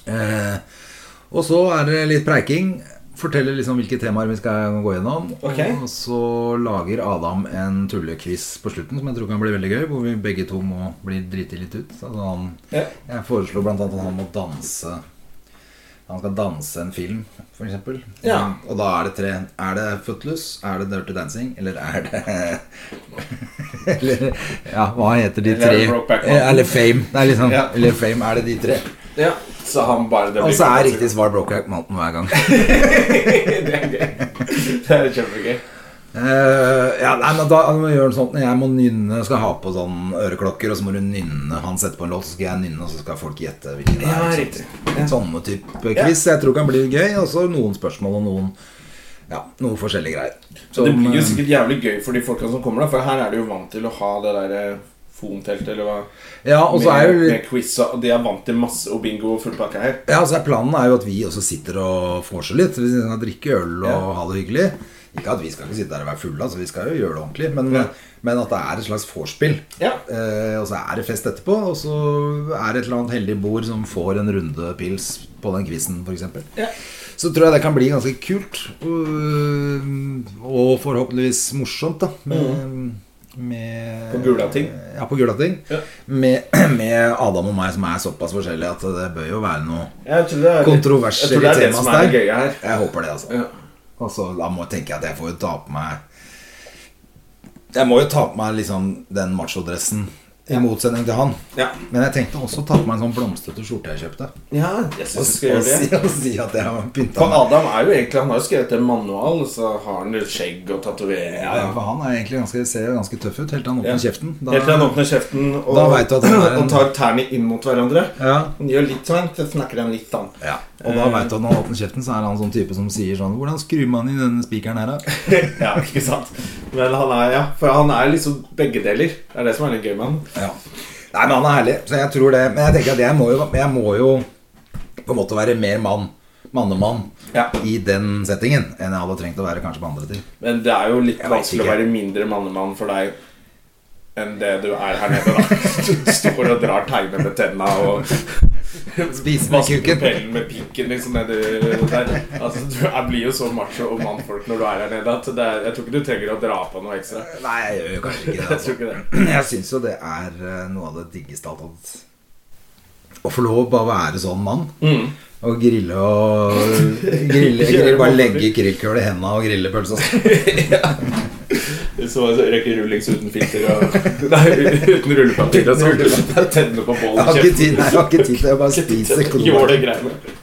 S2: Eh, og så er det litt preiking. Forteller liksom hvilke temaer vi skal gå gjennom.
S1: Ok.
S2: Og så lager Adam en tullequiz på slutten som jeg tror kan bli veldig gøy. Hvor vi begge to må bli driti litt ut. Altså han,
S1: Ja.
S2: jeg foreslo blant annet at han må danse. Han skal danse en film, f.eks.
S1: Ja.
S2: Og da er det tre. Er det Footloose? Er det Dirty Dancing? Eller er det Eller ja, hva heter de
S1: Eller
S2: tre?
S1: Brokeback Mountain.
S2: Eh, Eller Fame. Det er liksom,
S1: Ja.
S2: Eller Fame, er det de tre?
S1: ja. Så han bare det
S2: Og så Altså, er
S1: blir-
S2: riktig svar Brokeback Mountain hver gang.
S1: Det er gøy. Det er kjempegøy.
S2: Eh, ja, nei, men da må jeg gjøre sånn at Jeg må nynne, skal ha på sånn øreklokker, og så må du nynne. Han setter på en låt, så skal jeg nynne, og så skal folk gjette hvilken det
S1: Ja,
S2: er. ikke sant? Sånne type quiz jeg tror kan bli gøy. Og så noen spørsmål og noen Ja, noen forskjellige greier.
S1: Så det
S2: Som,
S1: blir jo
S2: eh,
S1: sikkert jævlig gøy for de folka som kommer, da. For her er de jo vant til å ha det derre fonteltet eller hva.
S2: ja, og så er jo
S1: med,
S2: litt
S1: med quiz og De er vant til masse og bingo og full pakke her.
S2: Ja, altså Planen er jo at vi også sitter og vorser litt. Vi skal drikke øl og
S1: Ja.
S2: ha det hyggelig. Ikke at vi skal ikke sitte der og være fulle, altså, vi skal jo gjøre det ordentlig. Men,
S1: Ja.
S2: men at det er et slags vorspiel.
S1: Ja.
S2: Eh, og så er det fest etterpå, og så er det et eller annet heldig bord som får en runde pils på den quizen, f.eks.
S1: Ja.
S2: Så tror jeg det kan bli ganske kult. Og, og forhåpentligvis morsomt, da. Med, med
S1: Mm. På Gulating.
S2: Ja, på Gulating.
S1: Ja.
S2: Med, med Adam og meg, som er såpass forskjellige at det bør jo være noe
S1: Jeg tror det er
S2: Kontroverser
S1: Jeg tror det er
S2: i
S1: det som
S2: temaet
S1: er det
S2: der.
S1: gøye her.
S2: Jeg håper det, altså.
S1: Ja.
S2: Og så da må jeg tenke at jeg får jo ta på meg Jeg må jo ta på meg liksom den machodressen, i motsetning til han.
S1: Ja.
S2: Men jeg tenkte også å ta på meg en sånn blomstrete skjorte jeg kjøpte.
S1: Ja, jeg
S2: Og,
S1: syns
S2: og,
S1: vi skal gjøre det.
S2: si, og si at jeg har pynta
S1: For Adam er jo egentlig Han har jo skrevet en manual, og så har han litt skjegg og tatoveringer.
S2: Ja, ja, for han er egentlig ganske, ser jo ganske tøff ut, helt til han åpner kjeften. Da-
S1: Helt til han åpner kjeften og,
S2: Da vet du at han er en-
S1: og tar tærne inn mot hverandre.
S2: Ja.
S1: Han gjør litt sånn, så snakker han litt sånn.
S2: Ja. Og da veit du at når han åpner kjeften, så er han sånn type som sier sånn Hvordan skrur man i denne spikeren her, da?
S1: ja, ikke sant? Men han er ja, for han er liksom begge deler. Det er det som er litt gøy med han.
S2: Ja. Nei, men han er herlig, så jeg tror det. Men jeg tenker at jeg må jo, jeg må jo på en måte være mer mann, mannemann,
S1: Ja.
S2: i den settingen enn jeg hadde trengt å være kanskje på andre ting.
S1: Men det er jo litt
S2: Jeg vet
S1: vanskelig å
S2: ikke.
S1: være mindre mannemann for deg enn det du er her nede, da. Du står og drar teiner med tenna og
S2: Spis med
S1: Vaske
S2: kuken.
S1: propellen med pikken liksom nedi der. Altså, du jeg blir jo så macho og mannfolk når du er der nede at det er, jeg tror ikke du trenger å dra på noe ekstra.
S2: Nei, jeg gjør jo kanskje ikke det.
S1: Jeg
S2: Altså.
S1: tror ikke det.
S2: Jeg syns jo det er eh, noe av det diggeste av alt. Å få lov å bare være sånn mann.
S1: Mm.
S2: Og grille og grille, grille, Bare legge krillkøl i henda og grille pølse.
S1: Så så røyker rullings uten filter og Nei, uten rullepapir og sånn. Tenne på bålet
S2: Jeg
S1: og
S2: har ikke tid
S1: kjeften.
S2: nei, jeg har ikke tid til å bare spise klor.
S1: Jålegreiene.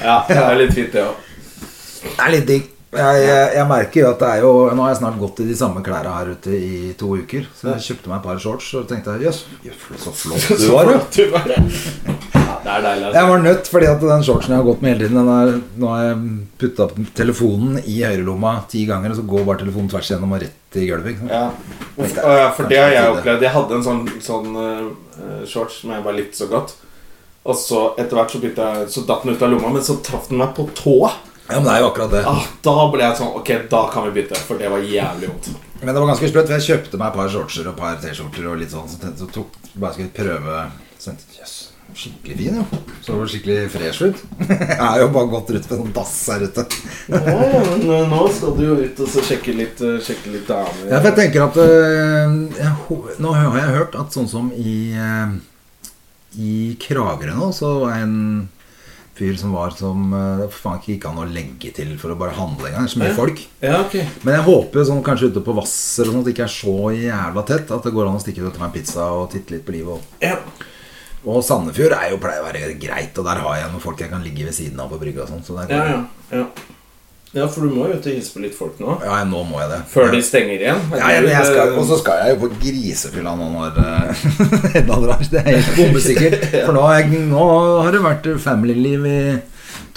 S1: Ja, det er litt fint, det òg.
S2: Det er litt digg. Jeg, jeg, jeg merker jo at det er jo Nå har jeg snart gått i de samme klærne her ute i to uker. Så jeg kjøpte meg et par shorts og tenkte jeg, jøss, jøss, så flott du var, jo.
S1: Du bare Ja, det er deilig.
S2: Jeg
S1: Altså.
S2: var nødt, fordi at den shortsen jeg har gått med hele tiden den er, Nå har jeg putta telefonen i høyrelomma ti ganger, og så går bare telefonen tvers igjennom og rett i gulvet. ikke sant?
S1: Ja. Uff, å ja, for det har jeg opplevd. Jeg hadde en sånn, sånn eh, shorts som jeg bare likte så godt. Og så etter hvert så, begynte jeg, så datt den ut av lomma, men så traff den meg på tåa.
S2: Ja, men det er jo akkurat det.
S1: Ah, da ble jeg sånn Ok, da kan vi bytte, for det var jævlig vondt.
S2: Men det var ganske sprøtt, for jeg kjøpte meg et par shortser og et par T-skjorter og litt sånn, så tenkte jeg tok, bare skulle prøve Så tenkte jeg, jøss, skikkelig fin, jo. Så det var skikkelig fresh ut. jeg har jo bare gått rundt med sånn dass her ute.
S1: Ja, men nå skal du jo ut og så sjekke litt, eh, sjekke litt damer.
S2: Ja, for jeg tenker at øh, jeg, ho- Nå har jeg hørt at sånn som i øh, I Kragerø nå, så var jeg en fyr som var som øh, Det faen ikke gikk an å legge til for å bare handle engang. Det er Så mye folk.
S1: Ja, ok.
S2: Men jeg håper jo sånn kanskje ute på Hvasser og sånt at det ikke er så jævla tett. At det går an å stikke ut og ta en pizza og titte litt på livet. Og,
S1: Ja.
S2: og Sandefjord er jo pleier å være greit, og der har jeg noen folk jeg kan ligge ved siden av på brygga og sånn. Så der,
S1: Ja, ja, ja. ja, for du må jo ut og hilse på litt folk nå.
S2: ja, nå må jeg det.
S1: Før de stenger igjen. Eh,
S2: Ja, ja, men jeg skal, og så skal jeg jo på grisefylla nå når eh, Edna drar. Det er helt bombesikkert. For nå, har jeg, nå har det vært familyliv i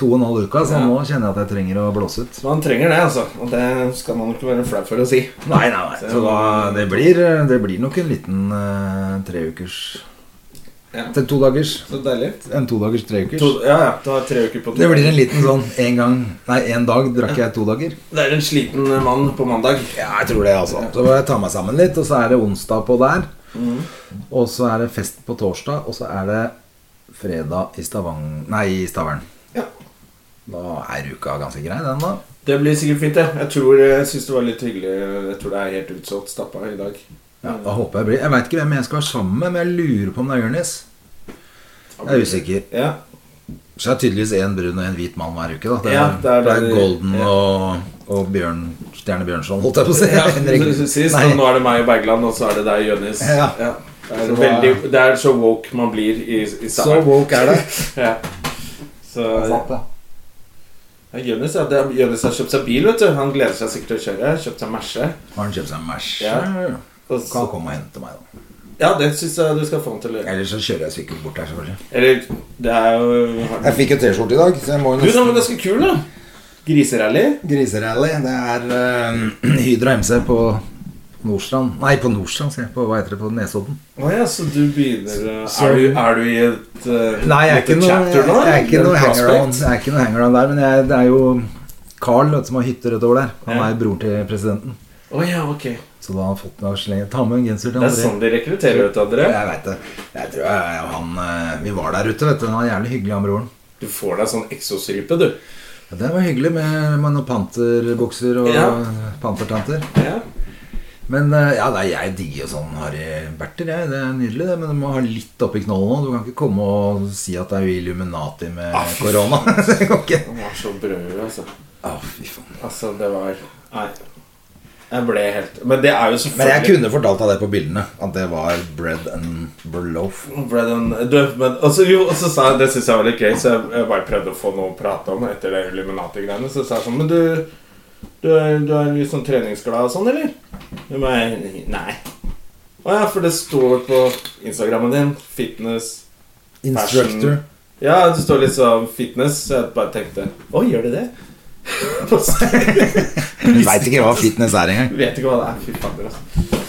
S2: to og en halv uke, så nå kjenner jeg at jeg trenger å blåse ut.
S1: Man trenger det, altså. Og det skal man ikke være flau for å si.
S2: Nei, nei, nei. Så da, det, blir, eh, det blir nok en liten uh, treukers
S1: Ja.
S2: Til to dagers.
S1: Så deilig.
S2: En todagers treukers.
S1: To, ja, ja. Du har tre uker på
S2: Det blir en liten sånn en gang Nei, en dag drakk jeg to dager.
S1: Det er en sliten eh, mann på mandag.
S2: Ja, jeg tror det, altså. Så må jeg ta meg sammen litt, og så er det onsdag på der. Og så er det fest på torsdag, og så er det fredag i Stavang... Nei, i Stavern.
S1: Ja.
S2: Da er uka ganske grei, den, da.
S1: Det blir sikkert fint, det. Jeg tror eh, jeg synes det var litt hyggelig. Jeg tror det er helt utsolgt stappa i dag.
S2: Ja, da håper jeg blir Jeg veit ikke hvem jeg skal være sammen med, men jeg lurer på om det er Jonis. Jeg er usikker.
S1: Ja.
S2: Så det er tydeligvis én brun og én hvit mann hver uke, da. Det er,
S1: Ja, det er
S2: det er
S1: det-
S2: Golden og, og Bjørn Stjerne Bjørnson, holdt jeg på å si.
S1: ja
S2: Henrik.
S1: sist,
S2: Nei.
S1: og nå er det meg og Bergland, og så er det deg, Jonis.
S2: Ja.
S1: Det, er
S2: Så hva-
S1: veldig, det er så woke man blir i,
S2: Så
S1: i Stavern.
S2: woke er det.
S1: Ja. Så, Ja, Jonis ja, det er- Jonis har kjøpt seg bil, vet du. Han gleder seg sikkert til å kjøre. Kjøpt seg Merce.
S2: Har han kjøpt seg en Merce?
S1: Ja.
S2: Kan
S1: Og så-
S2: han komme og hente meg, da.
S1: Ja, det syns jeg du skal få han til å gjøre.
S2: Eller så kjører jeg sykkel bort her, selvfølgelig.
S1: Eller det er jo har-
S2: Jeg fikk jo T-skjorte i dag, så jeg må jo
S1: Du, den var
S2: nesten
S1: ganske kul, da. Griserally.
S2: Griserally. Det er eh, Hydra MC på Nordstrand Nei, på Nordstrand, sier jeg. På, hva heter det? På Nesodden.
S1: Å ja, så du begynner eh,
S2: Så-
S1: er, du, er du i et eh,
S2: Nei, jeg er ikke
S1: lite
S2: noe,
S1: chapter nå?
S2: jeg er ikke
S1: eller?
S2: noe
S1: Prospect?
S2: hangaround, jeg er ikke noe hangaround der. Men jeg, det er jo Carl vet, du, som har hytter rett over der. Han
S1: Ja.
S2: er broren til presidenten.
S1: Å ja, ok. Det
S2: Så da har han fått meg å slenge Ta med en genser til
S1: er
S2: André.
S1: sånn de rekrutterer ut andre.
S2: Jeg vet det. Jeg tror jeg, han eh, Vi var der ute, vet du. Han var jævlig hyggelig, han broren.
S1: Du får deg sånn exosrype, du.
S2: Ja, det var hyggelig med, med noen panterbukser og
S1: Ja.
S2: pantertanter.
S1: Ja.
S2: Men eh, ja, nei, jeg digger jo sånn harryberter, jeg. Det er nydelig, det. Men du må ha litt oppi knollen nå. Du kan ikke komme og si at det er jo Illuminati med korona. det går ikke.
S1: Han var så brød, altså.
S2: Å, Ah, fy faen.
S1: Altså, det var Nei. Jeg ble helt Men det er
S2: Men
S1: jo
S2: jeg
S1: selvfølgelig
S2: kunne fortalt deg det på bildene. At det var bread and loaf.
S1: Ble den døv, men altså, jo, og så sa jeg, Det synes jeg var litt gøy, så jeg, jeg bare prøvde å få noe å prate om etter det Illuminati-greiene. Så sa jeg sånn Men du, du, er, du er litt sånn treningsglad og sånn, eller? Du bare Nei. Å ja, for det står på Instagrammen din. Fitness
S2: Instructor.
S1: Ja, det står litt sånn fitness, så jeg bare tenkte Å, gjør det det? Og så-
S2: Du veit ikke hva fitness er engang.
S1: Vet ikke hva det er. Fy fader, altså.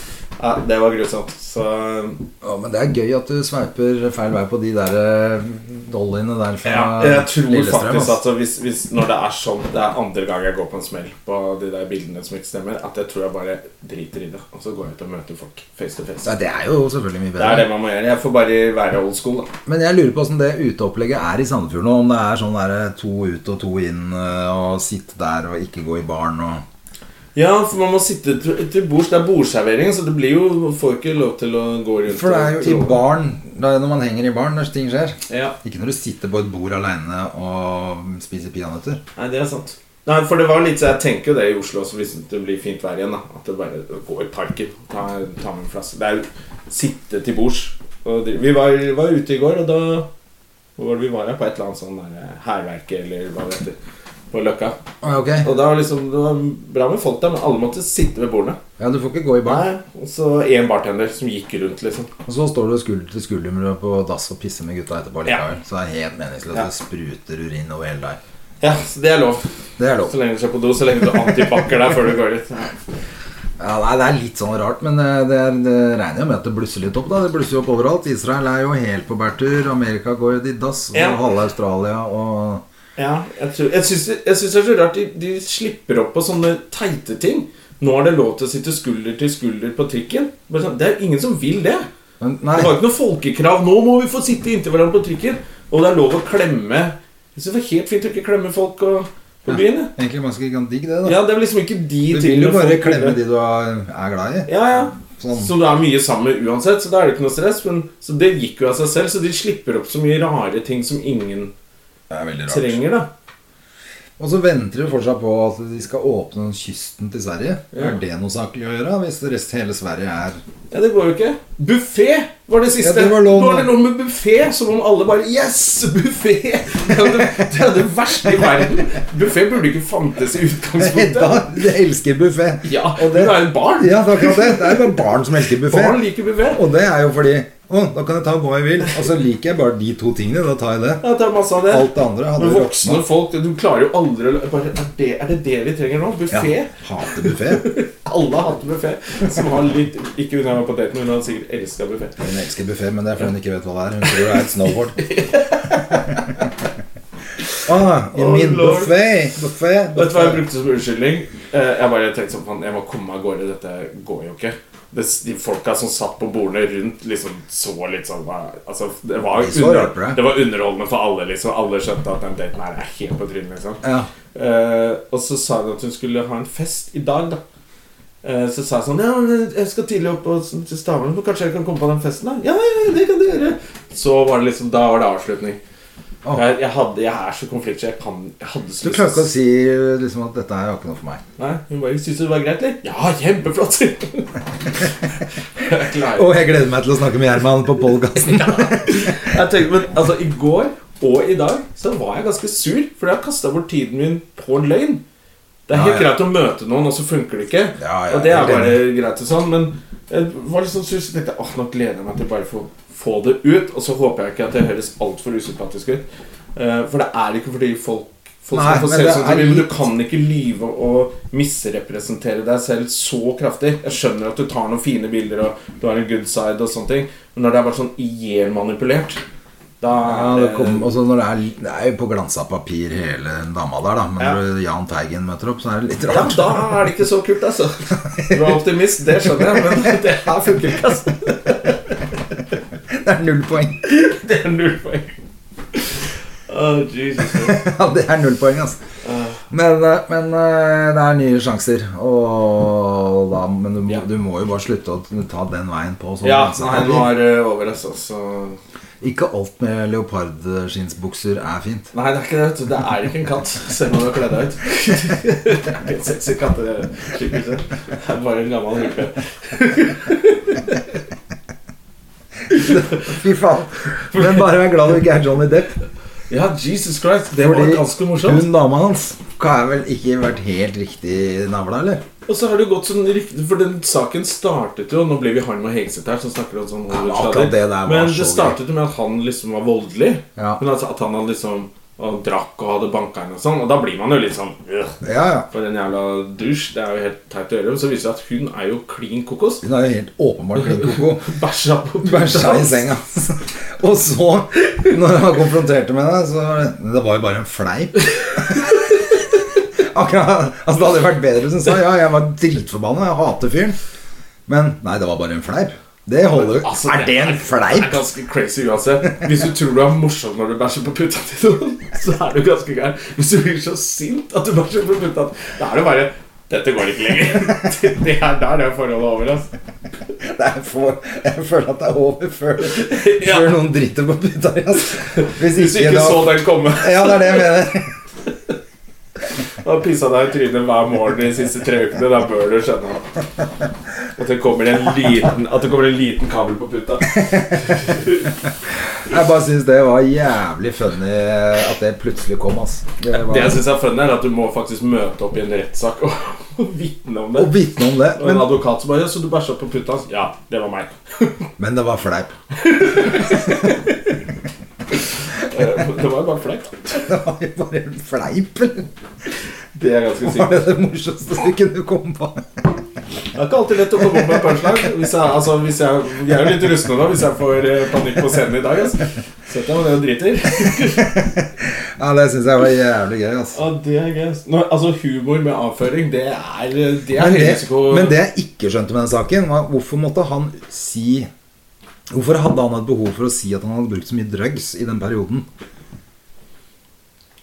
S1: Ja, det var grusomt. Så
S2: Ja, men det er gøy at du sveiper feil vei på de der eh, dollyene der fra
S1: ja, jeg tror
S2: Eh, Lillestrøm.
S1: faktisk
S2: ass.
S1: at hvis, hvis, når det er sånn Det er andre gang jeg går på en smell på de der bildene som ikke stemmer, at jeg tror jeg bare driter i det. Og så går jeg ut og møter folk face to
S2: ja,
S1: face.
S2: det er jo selvfølgelig mye
S1: Det
S2: bedre.
S1: er det man må gjøre. Jeg får bare være old school, da.
S2: Men jeg lurer på hvordan det uteopplegget er i Sandefjord nå. Om det er sånn der, to ut og to inn, eh, og sitte der og ikke gå i baren og
S1: Ja, for man må sitte til til bords. Det er bordservering, så det blir jo får ikke lov til å gå rundt
S2: For det er jo
S1: og
S2: i baren, det er når man henger i baren, når ting skjer.
S1: Ja,
S2: Ikke når du sitter på et bord aleine og spiser peanøtter.
S1: nei, det er sant. Nei, for det var litt så Jeg tenker jo det i Oslo også, hvis det blir fint vær igjen. da At det bare går i parken, ta, ta med en flaske. Det er jo sitte til bords. Og dri- Vi var, var ute i går, og da Hvor var det vi var? da? På et eller annet sånn der, eh, hærverke, eller hva det heter. På Løkka.
S2: Ah, ok.
S1: Og da var liksom, det var bra med folk der, men alle måtte sitte ved bordene.
S2: Ja, du får ikke gå i baren.
S1: Nei, Og så én bartender som gikk rundt, liksom.
S2: Og så står du skulder til skulder med på dass og pisser med gutta etterpå likevel. Så det er helt meningsløst.
S1: Ja.
S2: Det spruter urin over hele deg.
S1: Ja, så det er lov.
S2: Det er lov.
S1: Så lenge du er på do, så lenge du har antibac-er der før du går dit.
S2: Ja, nei, det er litt sånn rart, men eh, det, er, det regner jo med at det blusser litt opp. da Det blusser jo opp overalt. Israel er jo helt på bærtur. Amerika går jo i dass. Og
S1: Ja.
S2: halve Australia og
S1: Ja, jeg, tror- jeg syns det jeg syns det er så rart de, de slipper opp på sånne teite ting. Nå er det lov til å sitte skulder til skulder på trikken. Bare sånn, Det er ingen som vil det.
S2: Men
S1: Det
S2: Nei,
S1: var ikke noe folkekrav. Nå må vi få sitte inntil hverandre på trikken. Og det er lov å klemme. Jeg synes det var helt fint å ikke klemme folk og, på byen. jeg.
S2: egentlig ganske kan digg det, da.
S1: Ja, det er liksom ikke de
S2: Du vil
S1: tingene
S2: jo bare
S1: folk
S2: klemme
S1: ville.
S2: de du er er glad i.
S1: Ja, ja.
S2: Sånn.
S1: Så du er mye sammen med uansett, så da er det ikke noe stress. Men, så det gikk jo av seg selv, så de slipper opp så mye rare ting som ingen
S2: Det er veldig rart.
S1: trenger, da.
S2: Og så venter de fortsatt på at de skal åpne kysten til Sverige. Er det noe saklig å gjøre hvis resten hele Sverige er
S1: Ja, det går jo ikke. Buffé var det siste.
S2: Ja, det var lov.
S1: Nå er det noe med buffé, som om alle bare Yes, buffé! Det er det, det, er det verste i verden. Buffé burde ikke fantes i
S2: Hedda
S1: utgangspunktet.
S2: de elsker buffé.
S1: Ja,
S2: og det,
S1: hun er jo et barn.
S2: Ja, det er akkurat det. Det er jo bare barn som elsker buffé.
S1: Barn liker buffé.
S2: Og det er jo fordi Å, da kan jeg ta hva jeg vil. Og så liker jeg bare de to tingene. Da tar jeg det.
S1: Ja, det er masse av det.
S2: Alt det andre hadde
S1: Men
S2: jo
S1: voksne folk Du klarer jo aldri å bare, er, det, er det det vi trenger nå? Buffé?
S2: Ja, hater buffé.
S1: Alle har hatt buffé. Som har litt Ikke hun jeg var på date med, hun har sikkert elska buffé.
S2: Hun elsker buffé, men det er fordi hun ikke vet hva det er. Hun tror det er et snowboard. ah, you
S1: Oh,
S2: mean
S1: lord.
S2: buffé? Buffé?
S1: Vet du hva jeg brukte som unnskyldning? Eh, Jeg bare tenkte sånn, "Fan, jeg må komme meg av gårde, dette går jo ikke. Det, de folka som satt på bordene rundt, liksom så litt sånn hva- altså, det, var
S2: De så rart på
S1: under,
S2: deg.
S1: det var underholdende for alle, liksom. Alle skjønte at den daten her er helt på trynet, liksom.
S2: Ja.
S1: Eh, og så sa hun at hun skulle ha en fest i dag, da. Eh, så sa jeg sånn Ja, men jeg skal tidlig opp og sånn til Stavern, men kanskje jeg kan komme på den festen, da? Ja, ja, ja, det kan du gjøre. Så var det liksom Da var det avslutning.
S2: Åh.
S1: Jeg, jeg, hadde, jeg er så konfliktsky. Jeg, kan, jeg hadde så
S2: Du
S1: lyst til
S2: klarer ikke å si liksom, at dette her er ikke noe for meg.
S1: Nei, hun bare syntes det var greit, eller? Ja, kjempeflott! sier hun. jeg klarer
S2: Og jeg gleder meg til å snakke med Gjerman på podkasten.
S1: Jeg tenkte, men altså, I går og i dag så var jeg ganske sur, fordi jeg har kasta bort tiden min på en løgn. Det er helt
S2: Ja, ja.
S1: greit å møte noen, og så funker det ikke.
S2: Ja, ja,
S1: og det er
S2: helt
S1: bare greit og sånn, men jeg var litt sånn sur, så tenkte jeg åh, nå gleder jeg meg til bare å få- få det ut. Og så håper jeg ikke at det høres altfor usympatisk ut. Eh, for det er ikke fordi folk Folk
S2: Nei,
S1: skal få
S2: men
S1: se
S2: det
S1: ut som de
S2: er
S1: vil, men du
S2: litt-
S1: kan ikke lyve og misrepresentere deg selv så kraftig. Jeg skjønner at du tar noen fine bilder og du har en good side og sånne ting, men når det er bare sånn ihjelmanipulert, da
S2: Ja,
S1: er
S2: det
S1: det-
S2: kom, også når det, er, det er jo på glansa papir hele dama der, da. Men
S1: Ja.
S2: når Jahn Teigen møter opp, så er det litt
S1: ja,
S2: rart.
S1: da er det ikke så kult, altså. Du er optimist, det skjønner jeg, men det her funker ikke, altså.
S2: Det er null poeng.
S1: Det er null poeng. Åh, Jesus.
S2: Ja, det er null poeng, altså. Men, eh, men eh, det er nye sjanser. Og da, men du må,
S1: Ja.
S2: du må jo bare slutte å ta den veien på. sånn
S1: Ja,
S2: glansa
S1: nei, nå
S2: papir.
S1: er det over, altså. Så
S2: Ikke alt med leopardskinnsbukser er fint.
S1: Nei, det er ikke det. vet du. Det er ikke en katt, selv om du har kledd deg ut. Det er ikke en sexy katt, det er sykehuset. Det er bare en gammel hule.
S2: Fy faen. Men bare vær glad du ikke er Johnny Depp.
S1: Ja, Jesus Christ, det var
S2: Fordi
S1: ganske morsomt.
S2: hun dama hans har vel ikke vært helt riktig navla, eller?
S1: Og så har det gått sånn riktig For den saken startet jo Nå ble vi Harm og Hegseth her, som snakker om sånn
S2: men akkurat det der var
S1: Men
S2: så
S1: det startet jo med at han liksom var voldelig.
S2: Ja.
S1: Men altså at han hadde liksom og drakk og hadde banka henne og sånn. Og da blir man jo litt sånn øh,
S2: Ja, ja.
S1: For en jævla dusj. Det er jo helt teit å gjøre. Men så viser det seg at hun er jo klin kokos.
S2: Hun er jo helt åpenbart klin koko.
S1: Bæsja på
S2: Bæsja i
S1: hans.
S2: senga. Og så, når han konfronterte med deg, så var det Det var jo bare en fleip. Akkurat, altså Det hadde jo vært bedre hvis hun sa ja, jeg var dritforbanna, jeg hater fyren. Men nei, det var bare en fleip. Det holder jo.
S1: Altså,
S2: er det en
S1: Det er
S2: fleip?
S1: ganske crazy uansett. Hvis du tror du er morsom når du bæsjer på puta til noen, så er du ganske gæren. Hvis du blir så sint at du bæsjer på puta, da er det bare dette går ikke lenger. Det er der det er forholdet over. Altså.
S2: Det er for, jeg føler at det er over før,
S1: Ja.
S2: før noen driter på puta di. Altså. Hvis
S1: Hvis du
S2: ikke,
S1: ikke så
S2: da
S1: den komme
S2: Ja, det er det jeg mener.
S1: og pissa deg i trynet hver morgen de siste tre ukene, da bør du skjønne at det kommer en liten, at det kommer en liten kabel på puta.
S2: Jeg bare syns det var jævlig funny at det plutselig kom, altså. Det
S1: Det jeg
S2: var,
S1: syns er funny, er at du må faktisk møte opp i en rettssak og, og vitne om det.
S2: å vitne om det.
S1: Og en
S2: Men
S1: advokat som bare 'Så du bæsja på puta hans?' Ja, det var meg.
S2: Men det var fleip.
S1: Eh, Det var jo bare flaut.
S2: Det var jo bare en fleip. eller?
S1: Det er ganske
S2: Var
S1: sykt.
S2: det det morsomste du kunne komme på?
S1: Det er ikke alltid lett å komme opp med punchline. Hvis jeg, altså, hvis jeg, jeg er jo litt rustne nå hvis jeg får eh, panikk på scenen i dag. Altså. Setter jeg meg ned og driter.
S2: Ja, Det syns jeg var jævlig gøy. altså
S1: Ja, det er gøy. Nå, altså, humor med avføring, det er, det er
S2: men det,
S1: høyrisiko.
S2: men det jeg ikke skjønte med den saken, var hvorfor måtte han si Hvorfor hadde han et behov for å si at han hadde brukt så mye drugs i den perioden?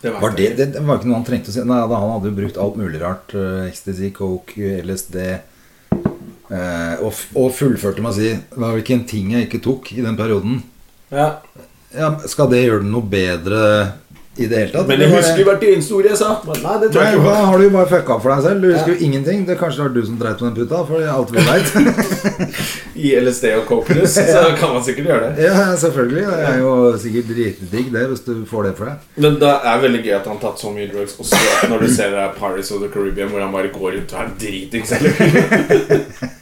S1: det vet
S2: Var det,
S1: jeg
S2: det, det var ikke noe han trengte å si. Nei, da, Han hadde jo brukt alt mulig rart. eh, Ecstasy, coke, LSD eh, og, f- og fullførte med å si Det var ikke en ting jeg ikke tok i den perioden.
S1: ikke. ja.
S2: Ja, Skal det gjøre det noe bedre i det hele tatt?
S1: Men
S2: Eller
S1: jeg
S2: var
S1: husker hvert eneste ord jeg sa. Men Nei, det tror
S2: Nei,
S1: jeg
S2: hva
S1: ikke.
S2: har du jo bare fucka opp for deg selv? Du husker jo ingenting. Det Kanskje det var du som dreit på den puta, for det er alt vi veit.
S1: I LSD og Coperus, så kan man sikkert gjøre det.
S2: ja, ja, selvfølgelig. Det er jo sikkert dritdigg, det, hvis du får det for deg.
S1: Men det er veldig gøy at han har tatt så mye drugs også når du ser det her Pirates of the Caribbean hvor han bare går rundt og er dritings hele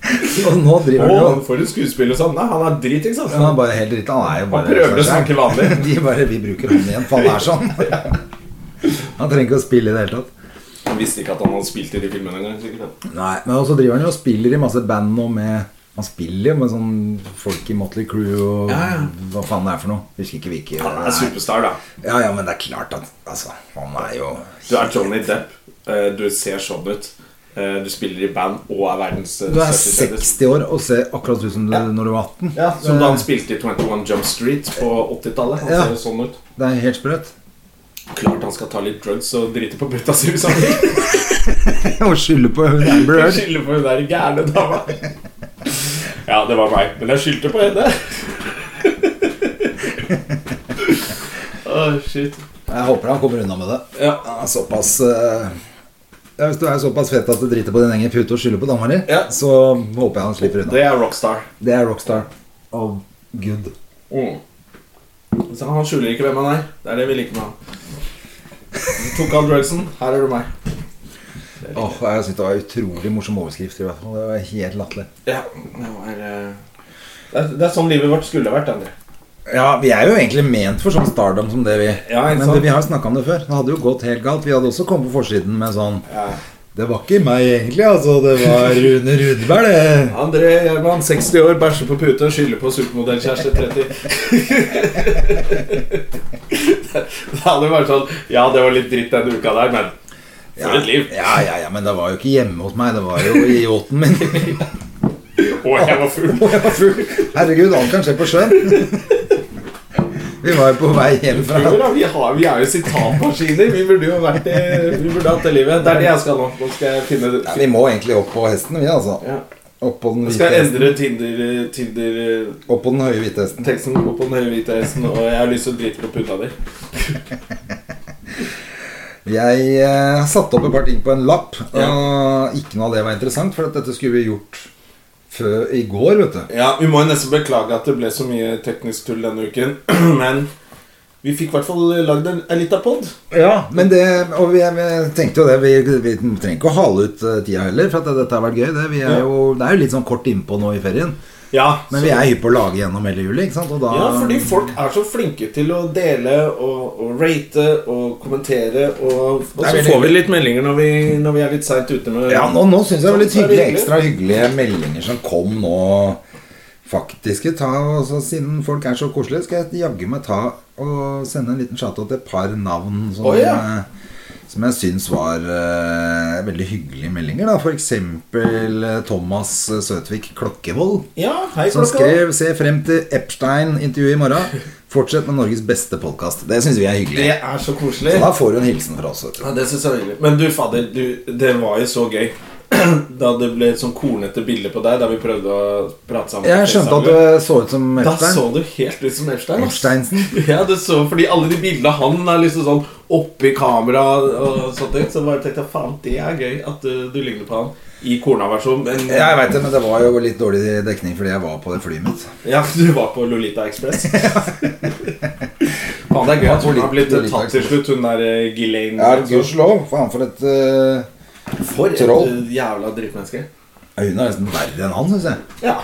S2: Og nå driver du jo
S1: Å, for en skuespiller sånn. Nei, han er dritings, altså.
S2: Han er bare helt dritt. Han er jo
S1: Han
S2: bare
S1: prøver å
S2: seg
S1: snakke
S2: selv.
S1: vanlig.
S2: De bare Vi bruker han igjen, for han er sånn. Han trenger ikke å spille i det hele tatt.
S1: Han visste ikke at han hadde spilt i de filmene engang. sikkert.
S2: Nei, Men også driver han jo og spiller i masse band nå med han spiller jo med sånn folk i Motley Crew og hva faen det er for noe. Husker ikke hvilke
S1: Han er superstar, da.
S2: Ja, ja, men det er klart at altså, han er jo
S1: Du er Johnny Depp. eh, Du ser sånn ut. eh, Du spiller i band og er verdens eh,
S2: Du er
S1: største kjendis.
S2: 60 år og ser akkurat ut som du når du var 18.
S1: Ja, som da han spilte i 21 Jump Street på 80-tallet. Han
S2: Ja.
S1: ser jo sånn ut.
S2: Det er helt sprøtt.
S1: Klart han skal ta litt drugs og drite på puta si hvis han vil.
S2: Og skylder på hun Amber Heard.
S1: Skylde på hun der gærne dama. Ja, det var meg. Men jeg skyldte på henne. Åh, shit.
S2: Jeg håper han kommer unna med det.
S1: Ja.
S2: Han er Såpass eh, ja, Hvis du er såpass fet at du driter på din egen pute og skylder på dama di,
S1: Ja.
S2: så håper jeg han slipper unna.
S1: Det er rockstar.
S2: Det er rockstar of good.
S1: Mm. Så han skjuler ikke hvem han er. Det er det vi liker med han. Du tok av drugsen. Her er du meg.
S2: Åh, jeg synes Det var en utrolig morsom overskrift. i hvert fall Det var helt latterlig.
S1: Ja, det var eh, det er, det er sånn livet vårt skulle vært, André.
S2: Ja, Vi er jo egentlig ment for sånn stardom som det, vi.
S1: Ja, ikke
S2: Men
S1: sant?
S2: det, vi har snakka om det før. Det hadde jo gått helt galt. Vi hadde også kommet på forsiden med sånn Det var ikke meg, egentlig. altså Det var Rune Rudberg, det.
S1: André Gjerman, 60 år, bæsjer på pute og skylder på supermodellkjæreste 30. det hadde vært sånn Ja, det var litt dritt den uka der, men for et liv.
S2: Ja, ja, ja, Men det var jo ikke hjemme hos meg. Det var jo i yachten min.
S1: Å, jeg var full.
S2: Og jeg var full. Herregud, alt kan skje på sjøen. Vi var jo på vei hjem fra
S1: Jo da, vi, har, vi er jo sitatmaskiner. Vi burde jo vært det, Vi burde hatt det livet. Det er det jeg skal nå. Nå skal jeg finne
S2: ja, Vi må egentlig opp på hesten, vi, altså.
S1: Ja.
S2: Opp på den,
S1: Jeg
S2: hvite
S1: skal
S2: hesten.
S1: endre Tinder, Tinder
S2: Opp på den høye hvite hesten.
S1: Teksten går på den høye hvite hesten, og jeg har lyst til å drite på puta di.
S2: Jeg eh, satte opp et par ting på en lapp. Og ikke noe av det var interessant, for at dette skulle vi gjort før i går, vet du.
S1: Ja, Vi må jo nesten beklage at det ble så mye teknisk tull denne uken, men vi fikk i hvert fall lagd en, en lita pod.
S2: Ja, men det, og vi, vi tenkte jo det Vi, vi trenger ikke å hale ut eh, tida heller, for at dette har vært gøy. Det, vi er jo, det er jo litt sånn kort innpå nå i ferien.
S1: Ja,
S2: Men vi er hypp på å lage gjennom hele juli, ikke sant? Og da
S1: Ja, fordi folk er så flinke til å dele og, og rate og kommentere. Og, og
S2: Det er
S1: så
S2: veldig
S1: får vi litt meldinger når vi, når vi er litt seint ute med
S2: Ja, nå, nå syns jeg det var litt
S1: Så Sånn er det
S2: hyggelig,
S1: hyggelig.
S2: ekstra hyggelige meldinger som kom nå. Faktiske ta, altså Siden folk er så koselige, skal jeg jaggu meg ta og sende en liten shout-out til et par navn som,
S1: Å, ja.
S2: som jeg syns var eh, veldig hyggelige meldinger. da F.eks. Thomas Søtvik Klokkevold.
S1: Ja, hei,
S2: Som
S1: klokka.
S2: skrev 'Se frem til Epstein-intervjuet i morgen'. Fortsett med Norges beste podkast. Det syns vi er hyggelig.
S1: Det er så koselig.
S2: Så da får du en hilsen fra oss. Vet du.
S1: Ja, det synes jeg er hyggelig. Men du, fader, du, det var jo så gøy. Da det ble et sånn kornete bilde på deg da vi prøvde å prate sammen.
S2: Jeg skjønte at du så ut som
S1: Da så
S2: Epstein.
S1: du helt ut som Epstein. ass.
S2: Epsteinsen.
S1: Ja, det så, fordi alle de bildene han er liksom sånn oppi kamera og sånt, ting, så bare tenkte jeg faen, det er gøy at eh, du, du ligner på han i korna-versjon. Men
S2: Ja, Jeg veit det, men det var jo litt dårlig dekning fordi jeg var på det flyet mitt.
S1: ja, du var på Lolita Express. faen, det er gøy at hun har blitt
S2: Lolita
S1: tatt til slutt, hun der eh, Ghislaine.
S2: Ja,
S1: altså.
S2: gudskjelov. Faen, for et eh,
S1: For et
S2: troll.
S1: eh, jævla drittmenneske.
S2: ja, Hun er nesten verre enn han, syns jeg.
S1: Ja.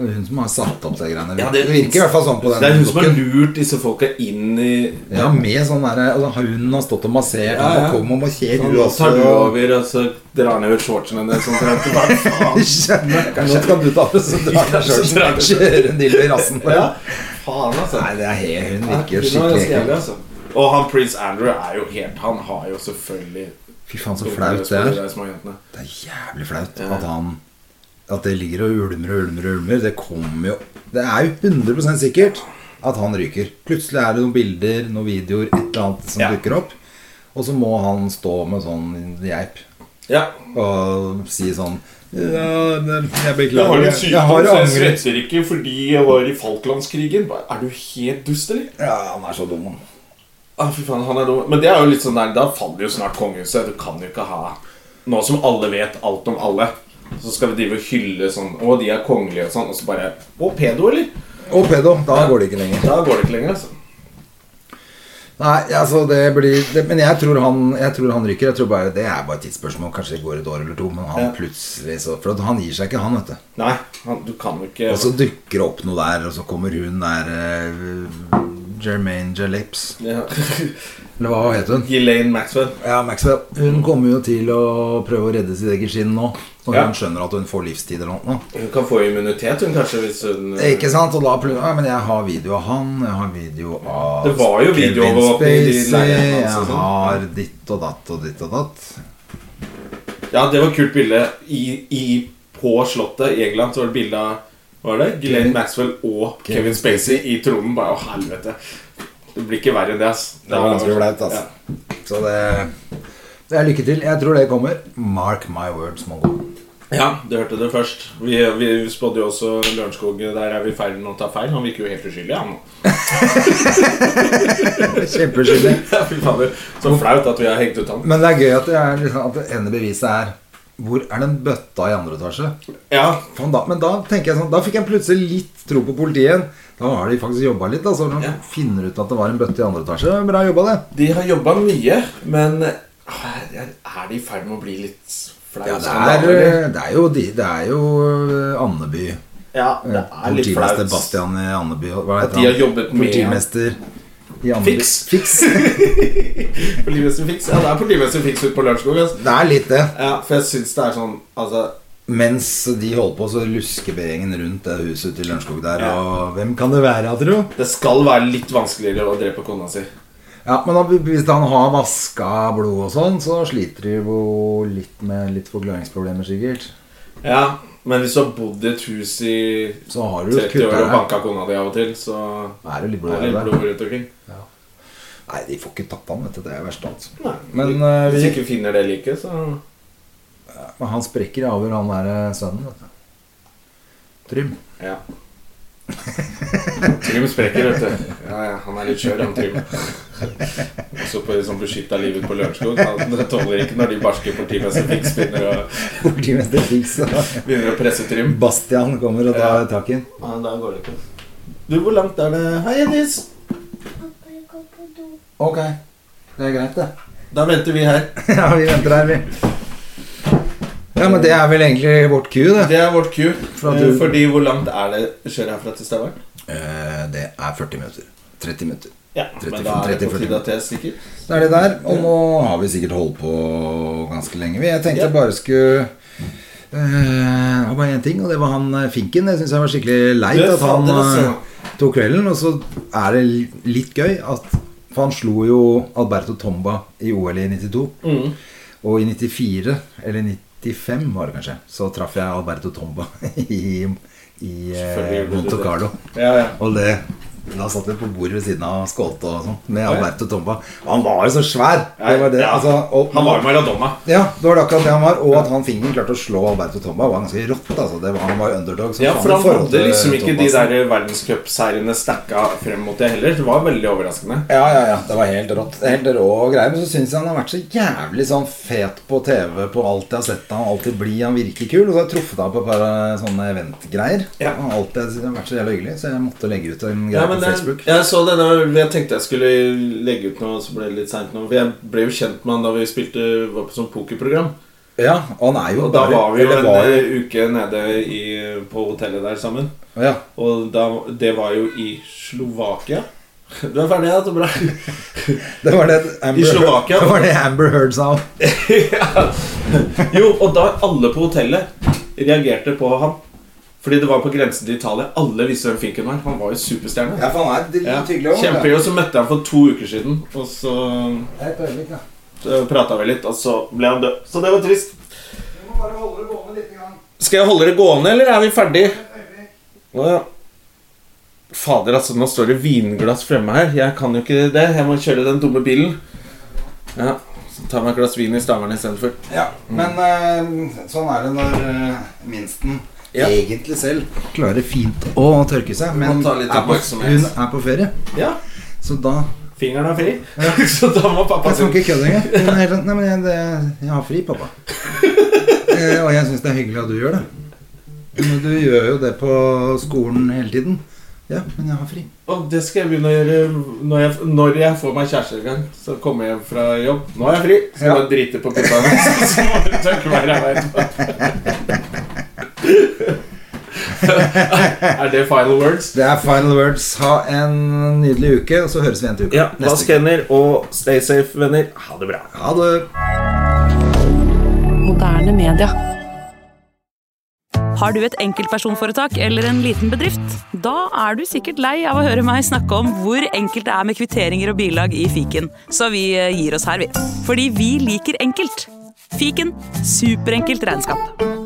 S2: Det er hun som har satt opp de greiene.
S1: Ja,
S2: det virker i hvert fall sånn på den
S1: Det er hun som har
S2: looken.
S1: lurt disse folka inn i
S2: Ja, med sånn derre altså, Hun har stått og massert,
S1: Ja,
S2: og
S1: ja.
S2: kom og massert
S1: Nå
S2: Sånn, du også.
S1: tar du
S2: og-
S1: over, og så drar ned shortsene dine. Sånn, trent. Hva faen?
S2: Skjønner. Nå skal du ta det, så drar
S1: Ja,
S2: jeg
S1: så
S2: sjøl.
S1: drar du.
S2: Kjører en dildo i rassen på
S1: Ja,
S2: deg.
S1: faen, altså.
S2: Nei, det er he, hun
S1: Ja,
S2: virker jo
S1: hun er
S2: skikkelig
S1: ganske jævlig,
S2: ekkel.
S1: altså. Og han prins Andrew er jo helt Han har jo selvfølgelig
S2: Fy faen, så flaut det er.
S1: De små jentene.
S2: Det er jævlig flaut at han At det ligger og ulmer og ulmer og ulmer. Det kommer jo Det er jo 100 sikkert at han ryker. Plutselig er det noen bilder, noen videoer, et eller annet som
S1: Ja.
S2: dukker opp. Og så må han stå med sånn geip
S1: Ja.
S2: og si sånn ja, det- jeg beklager.
S3: har en
S2: Jeg, jeg har
S3: sykdom, så jeg
S2: angret.
S3: svetter ikke fordi jeg var i Falklandskrigen. Bare, Er du helt dust, eller?
S2: Ja, han er så dum, han.
S1: Ah, fy faen, han er dum. Men det er jo litt sånn der, da faller jo snart kongehuset. Du kan jo ikke ha Nå som alle vet alt om alle, så skal vi drive og hylle sånn Å, de er kongelige og sånn, og så bare Å, pedo, eller?
S2: Og pedo. Da går det ikke lenger.
S1: Da går det ikke lenger, altså.
S2: Nei, altså det blir det, Men jeg tror, han, jeg tror han ryker. Jeg tror bare, Det er bare et tidsspørsmål. Kanskje det går et år eller to. Men han
S1: Ja.
S2: plutselig så For at han gir seg ikke, han, vet du.
S1: Nei, han, du kan jo ikke
S2: Og så dukker det opp noe der, og så kommer hun der eh, Jermaine Jalips.
S1: ja.
S2: Eller hva het hun?
S1: Ghislaine Maxwell.
S2: Ja, Maxwell. Hun kommer jo til å prøve å redde sitt eget skinn nå. Når
S1: Ja.
S2: hun skjønner at hun får livstid eller noe.
S1: Hun kan få immunitet, hun kanskje, hvis hun
S2: Ikke sant? Og da plutselig Ja, men jeg har video av han, jeg har video av
S1: Det var jo
S2: Kevin
S1: videoovervåkning i de leilighetene
S2: Spacey,
S1: hans
S2: jeg
S1: og sånn.
S2: har ditt og datt og ditt og datt.
S1: Ja, det var et kult bilde. I, i, på Slottet i England så var det bilde av hva var det? Glenn Maxwell og Kevin,
S2: Kevin
S1: Spacey i tronen. Bare, å helvete. Det blir ikke verre enn det, ass.
S2: Det var ganske flaut, altså. Så det, det er lykke til. Jeg tror det kommer. Mark my words, Mongo.
S1: Ja. ja, du hørte det først. Vi, vi spådde jo også Lørenskog. Der er vi i ferd med å ta feil. Han virker jo helt uskyldig, han.
S2: Kjempeskyldig.
S1: Ja, fy fader. Så flaut at vi har hengt ut han.
S2: Men det er gøy at det, er, liksom, at det ene beviset er Hvor er den bøtta i andre etasje?
S1: Ja,
S2: Faen, da, men da tenker jeg sånn Da fikk jeg plutselig litt tro på politiet. Da har de faktisk jobba litt. Altså, når de
S1: Ja.
S2: finner ut at det var en bøtte i andre etasje. Bra jobba, det.
S1: de har jobba mye, men er er de i ferd med å bli litt flaue?
S2: Det er, det er jo, de, det er jo eh, Andeby.
S1: ja,
S2: Eh,
S1: det er litt
S2: Politimester
S1: flaut.
S2: Bastian i Andeby. Hva
S1: At de har jobbet med-
S2: Politimester i Andeby.
S1: Fiks.
S2: Fiks.
S1: Politimester Fiks. Ja, det er politimester Fiks ute på Lørenskog. ass.
S2: Det er litt det.
S1: Ja, for jeg syns det er sånn Altså
S2: Mens de holder på, så lusker B-gjengen rundt det huset ute i Lørenskog der.
S1: Ja.
S2: Og hvem kan det være, tro?
S1: Det skal være litt vanskeligere å drepe kona si.
S2: Ja, men da, hvis han har vaska blod og sånn, så sliter de jo litt med litt forklaringsproblemer, sikkert.
S1: Ja, Men hvis du har bodd i et hus i
S2: Så har du jo
S1: 30 år
S2: kutta
S1: og
S2: her.
S1: banka kona di av og til, så
S2: Da Er det litt
S1: er det
S2: blod
S1: litt
S2: der?
S1: blod rundt omkring.
S2: Nei, de får ikke tatt han, vet du. Det er verst, altså.
S1: Nei,
S2: Men, eh,
S1: Hvis
S2: vi-
S1: ikke finner det liket, så
S2: Men han sprekker i avhør, han der eh, sønnen, vet du. Trym.
S1: Ja. Trym sprekker, vet du. Ja, ja, han er litt skjør, han Trym. Også på sånn beskytta livet på Lørenskog. Han tåler ikke når de barske politimester Fiks begynner å,
S2: Politimester Fiks. og
S1: begynner å presse Trym.
S2: Bastian kommer og tar
S1: Ja.
S2: tak i ham.
S1: Ja, da går det ikke. Du, hvor langt er det? Hei, Jennys!
S2: Ok, det er greit, det.
S1: Da venter vi her.
S2: Ja, vi venter her, vi. Ja, men det er vel egentlig vårt Q, det.
S1: Det er vårt Q.
S2: For at du-
S1: Eh, Fordi hvor langt er det kjører herfra til Stavanger?
S2: Eh, Det er 40 minutter. 30 minutter.
S1: Ja,
S2: 35,
S1: men da er det
S2: 30,
S1: på
S2: 40.
S1: tide at jeg stikker.
S2: Så er det der, og nå har vi sikkert holdt på ganske lenge. vi. Jeg tenkte jeg bare skulle eh, Det var bare én ting, og det var han eh, Finken. Jeg syns jeg var skikkelig leit
S1: Det er
S2: at han
S1: fader, altså.
S2: eh, tok kvelden. Og så er det li- litt gøy at For han slo jo Alberto Tomba i OL i 92.
S1: Mm.
S2: Og i 94, eller 95 var det kanskje, så traff jeg Alberto Tomba i, i eh,
S1: Selvfølgelig gjorde du
S2: Monte
S1: det.
S2: Carlo.
S1: Ja, ja.
S2: Og det da satt vi på bordet ved siden av og skålte og sånn med Alberto Tomba. Han var jo så svær! Det var det.
S1: Ja.
S2: Altså, og,
S1: Han var jo Maradona.
S2: ja, det var det akkurat det han var. Og at han fingeren klarte å slå Alberto Tomba, var ganske rått. Altså. Det var, han var jo underdog. som
S1: Ja,
S2: faen
S1: for
S2: i
S1: han
S2: forhold
S1: hadde
S2: til altså.
S1: liksom ikke de
S2: Thomasen.
S1: der verdenscupseierne stacka frem mot det heller. Det var veldig overraskende.
S2: Ja, ja, ja. Det var helt rått. Helt rå greier. Men så syns jeg han har vært så jævlig sånn fet på TV på alt jeg har sett han alltid bli. Han virker kul. Og så har jeg truffet ham på et par eh, sånne eventgreier.
S1: Ja.
S2: Han har alltid han har vært så jævla hyggelig, så jeg måtte legge ut en
S1: Ja,
S2: greie på
S1: men jeg,
S2: Facebook.
S1: jeg så denne, jeg tenkte jeg skulle legge ut noe, så ble det litt seint nå. For jeg ble jo kjent med han da vi spilte var på sånn pokerprogram.
S2: Ja, og han er jo
S1: Og da
S2: bare-
S1: var vi jo
S2: eller
S1: en
S2: var jo-
S1: eh, uke nede i, på hotellet der sammen.
S2: Ja.
S1: Og da, det var jo i Slovakia. Du er ferdig, ja? Så bra.
S2: Det var det Amber,
S1: I Slovakia.
S2: Heard- Det var det Amber Heard sa.
S1: Jo, og da alle på hotellet reagerte på ham. Fordi det var på grensen til Italia. Alle visste hvem Finken var. Han var jo superstjerne.
S2: Ja, for han er
S1: Ja. Kjempehyggelig. Og så møtte jeg ham for to uker siden, og så prata vi litt, og så ble han død. Så det var trist. Skal jeg holde det gående, eller er vi ferdig? Å ja. Fader, altså, nå står det vinglass fremme her. Jeg kan jo ikke det. Jeg må kjøre den dumme bilen. Ja, så tar jeg meg et glass vin i Stavern istedenfor.
S2: Ja, men eh, sånn er det når eh, minsten
S1: Ja.
S2: egentlig selv klarer fint å tørke seg, men
S1: må ta
S2: er
S1: litt
S2: på,
S1: oppmerksomhet.
S2: hun er på ferie.
S1: Ja.
S2: Så da
S1: Fingeren er fri, så da må pappa
S2: Jeg skal ikke kødde engang. Hun er helt sånn, Nei, men jeg, det- jeg har fri, pappa. Eh, og jeg syns det er hyggelig at du gjør det. Men du gjør jo det på skolen hele tiden. Ja, men jeg har fri.
S1: Og det skal jeg begynne å gjøre når jeg, når jeg får meg kjæreste en gang. Så kommer jeg hjem fra jobb. Nå er jeg fri. Så
S2: Ja.
S1: bare drite på puppa hennes. Så må du tørke meg ræva etterpå. Er det final words?
S2: Det er final words. Ha en nydelig uke, og så høres vi igjen til uka.
S1: Ja.
S2: Neste
S1: Vask hender og stay safe, venner. Ha det bra.
S2: uke. Ha det.
S4: Moderne media.
S5: Har du et enkeltpersonforetak eller en liten bedrift? Da er du sikkert lei av å høre meg snakke om hvor enkelt det er med kvitteringer og bilag i fiken, så vi eh, gir oss her, vi. Fordi vi liker enkelt. Fiken superenkelt regnskap.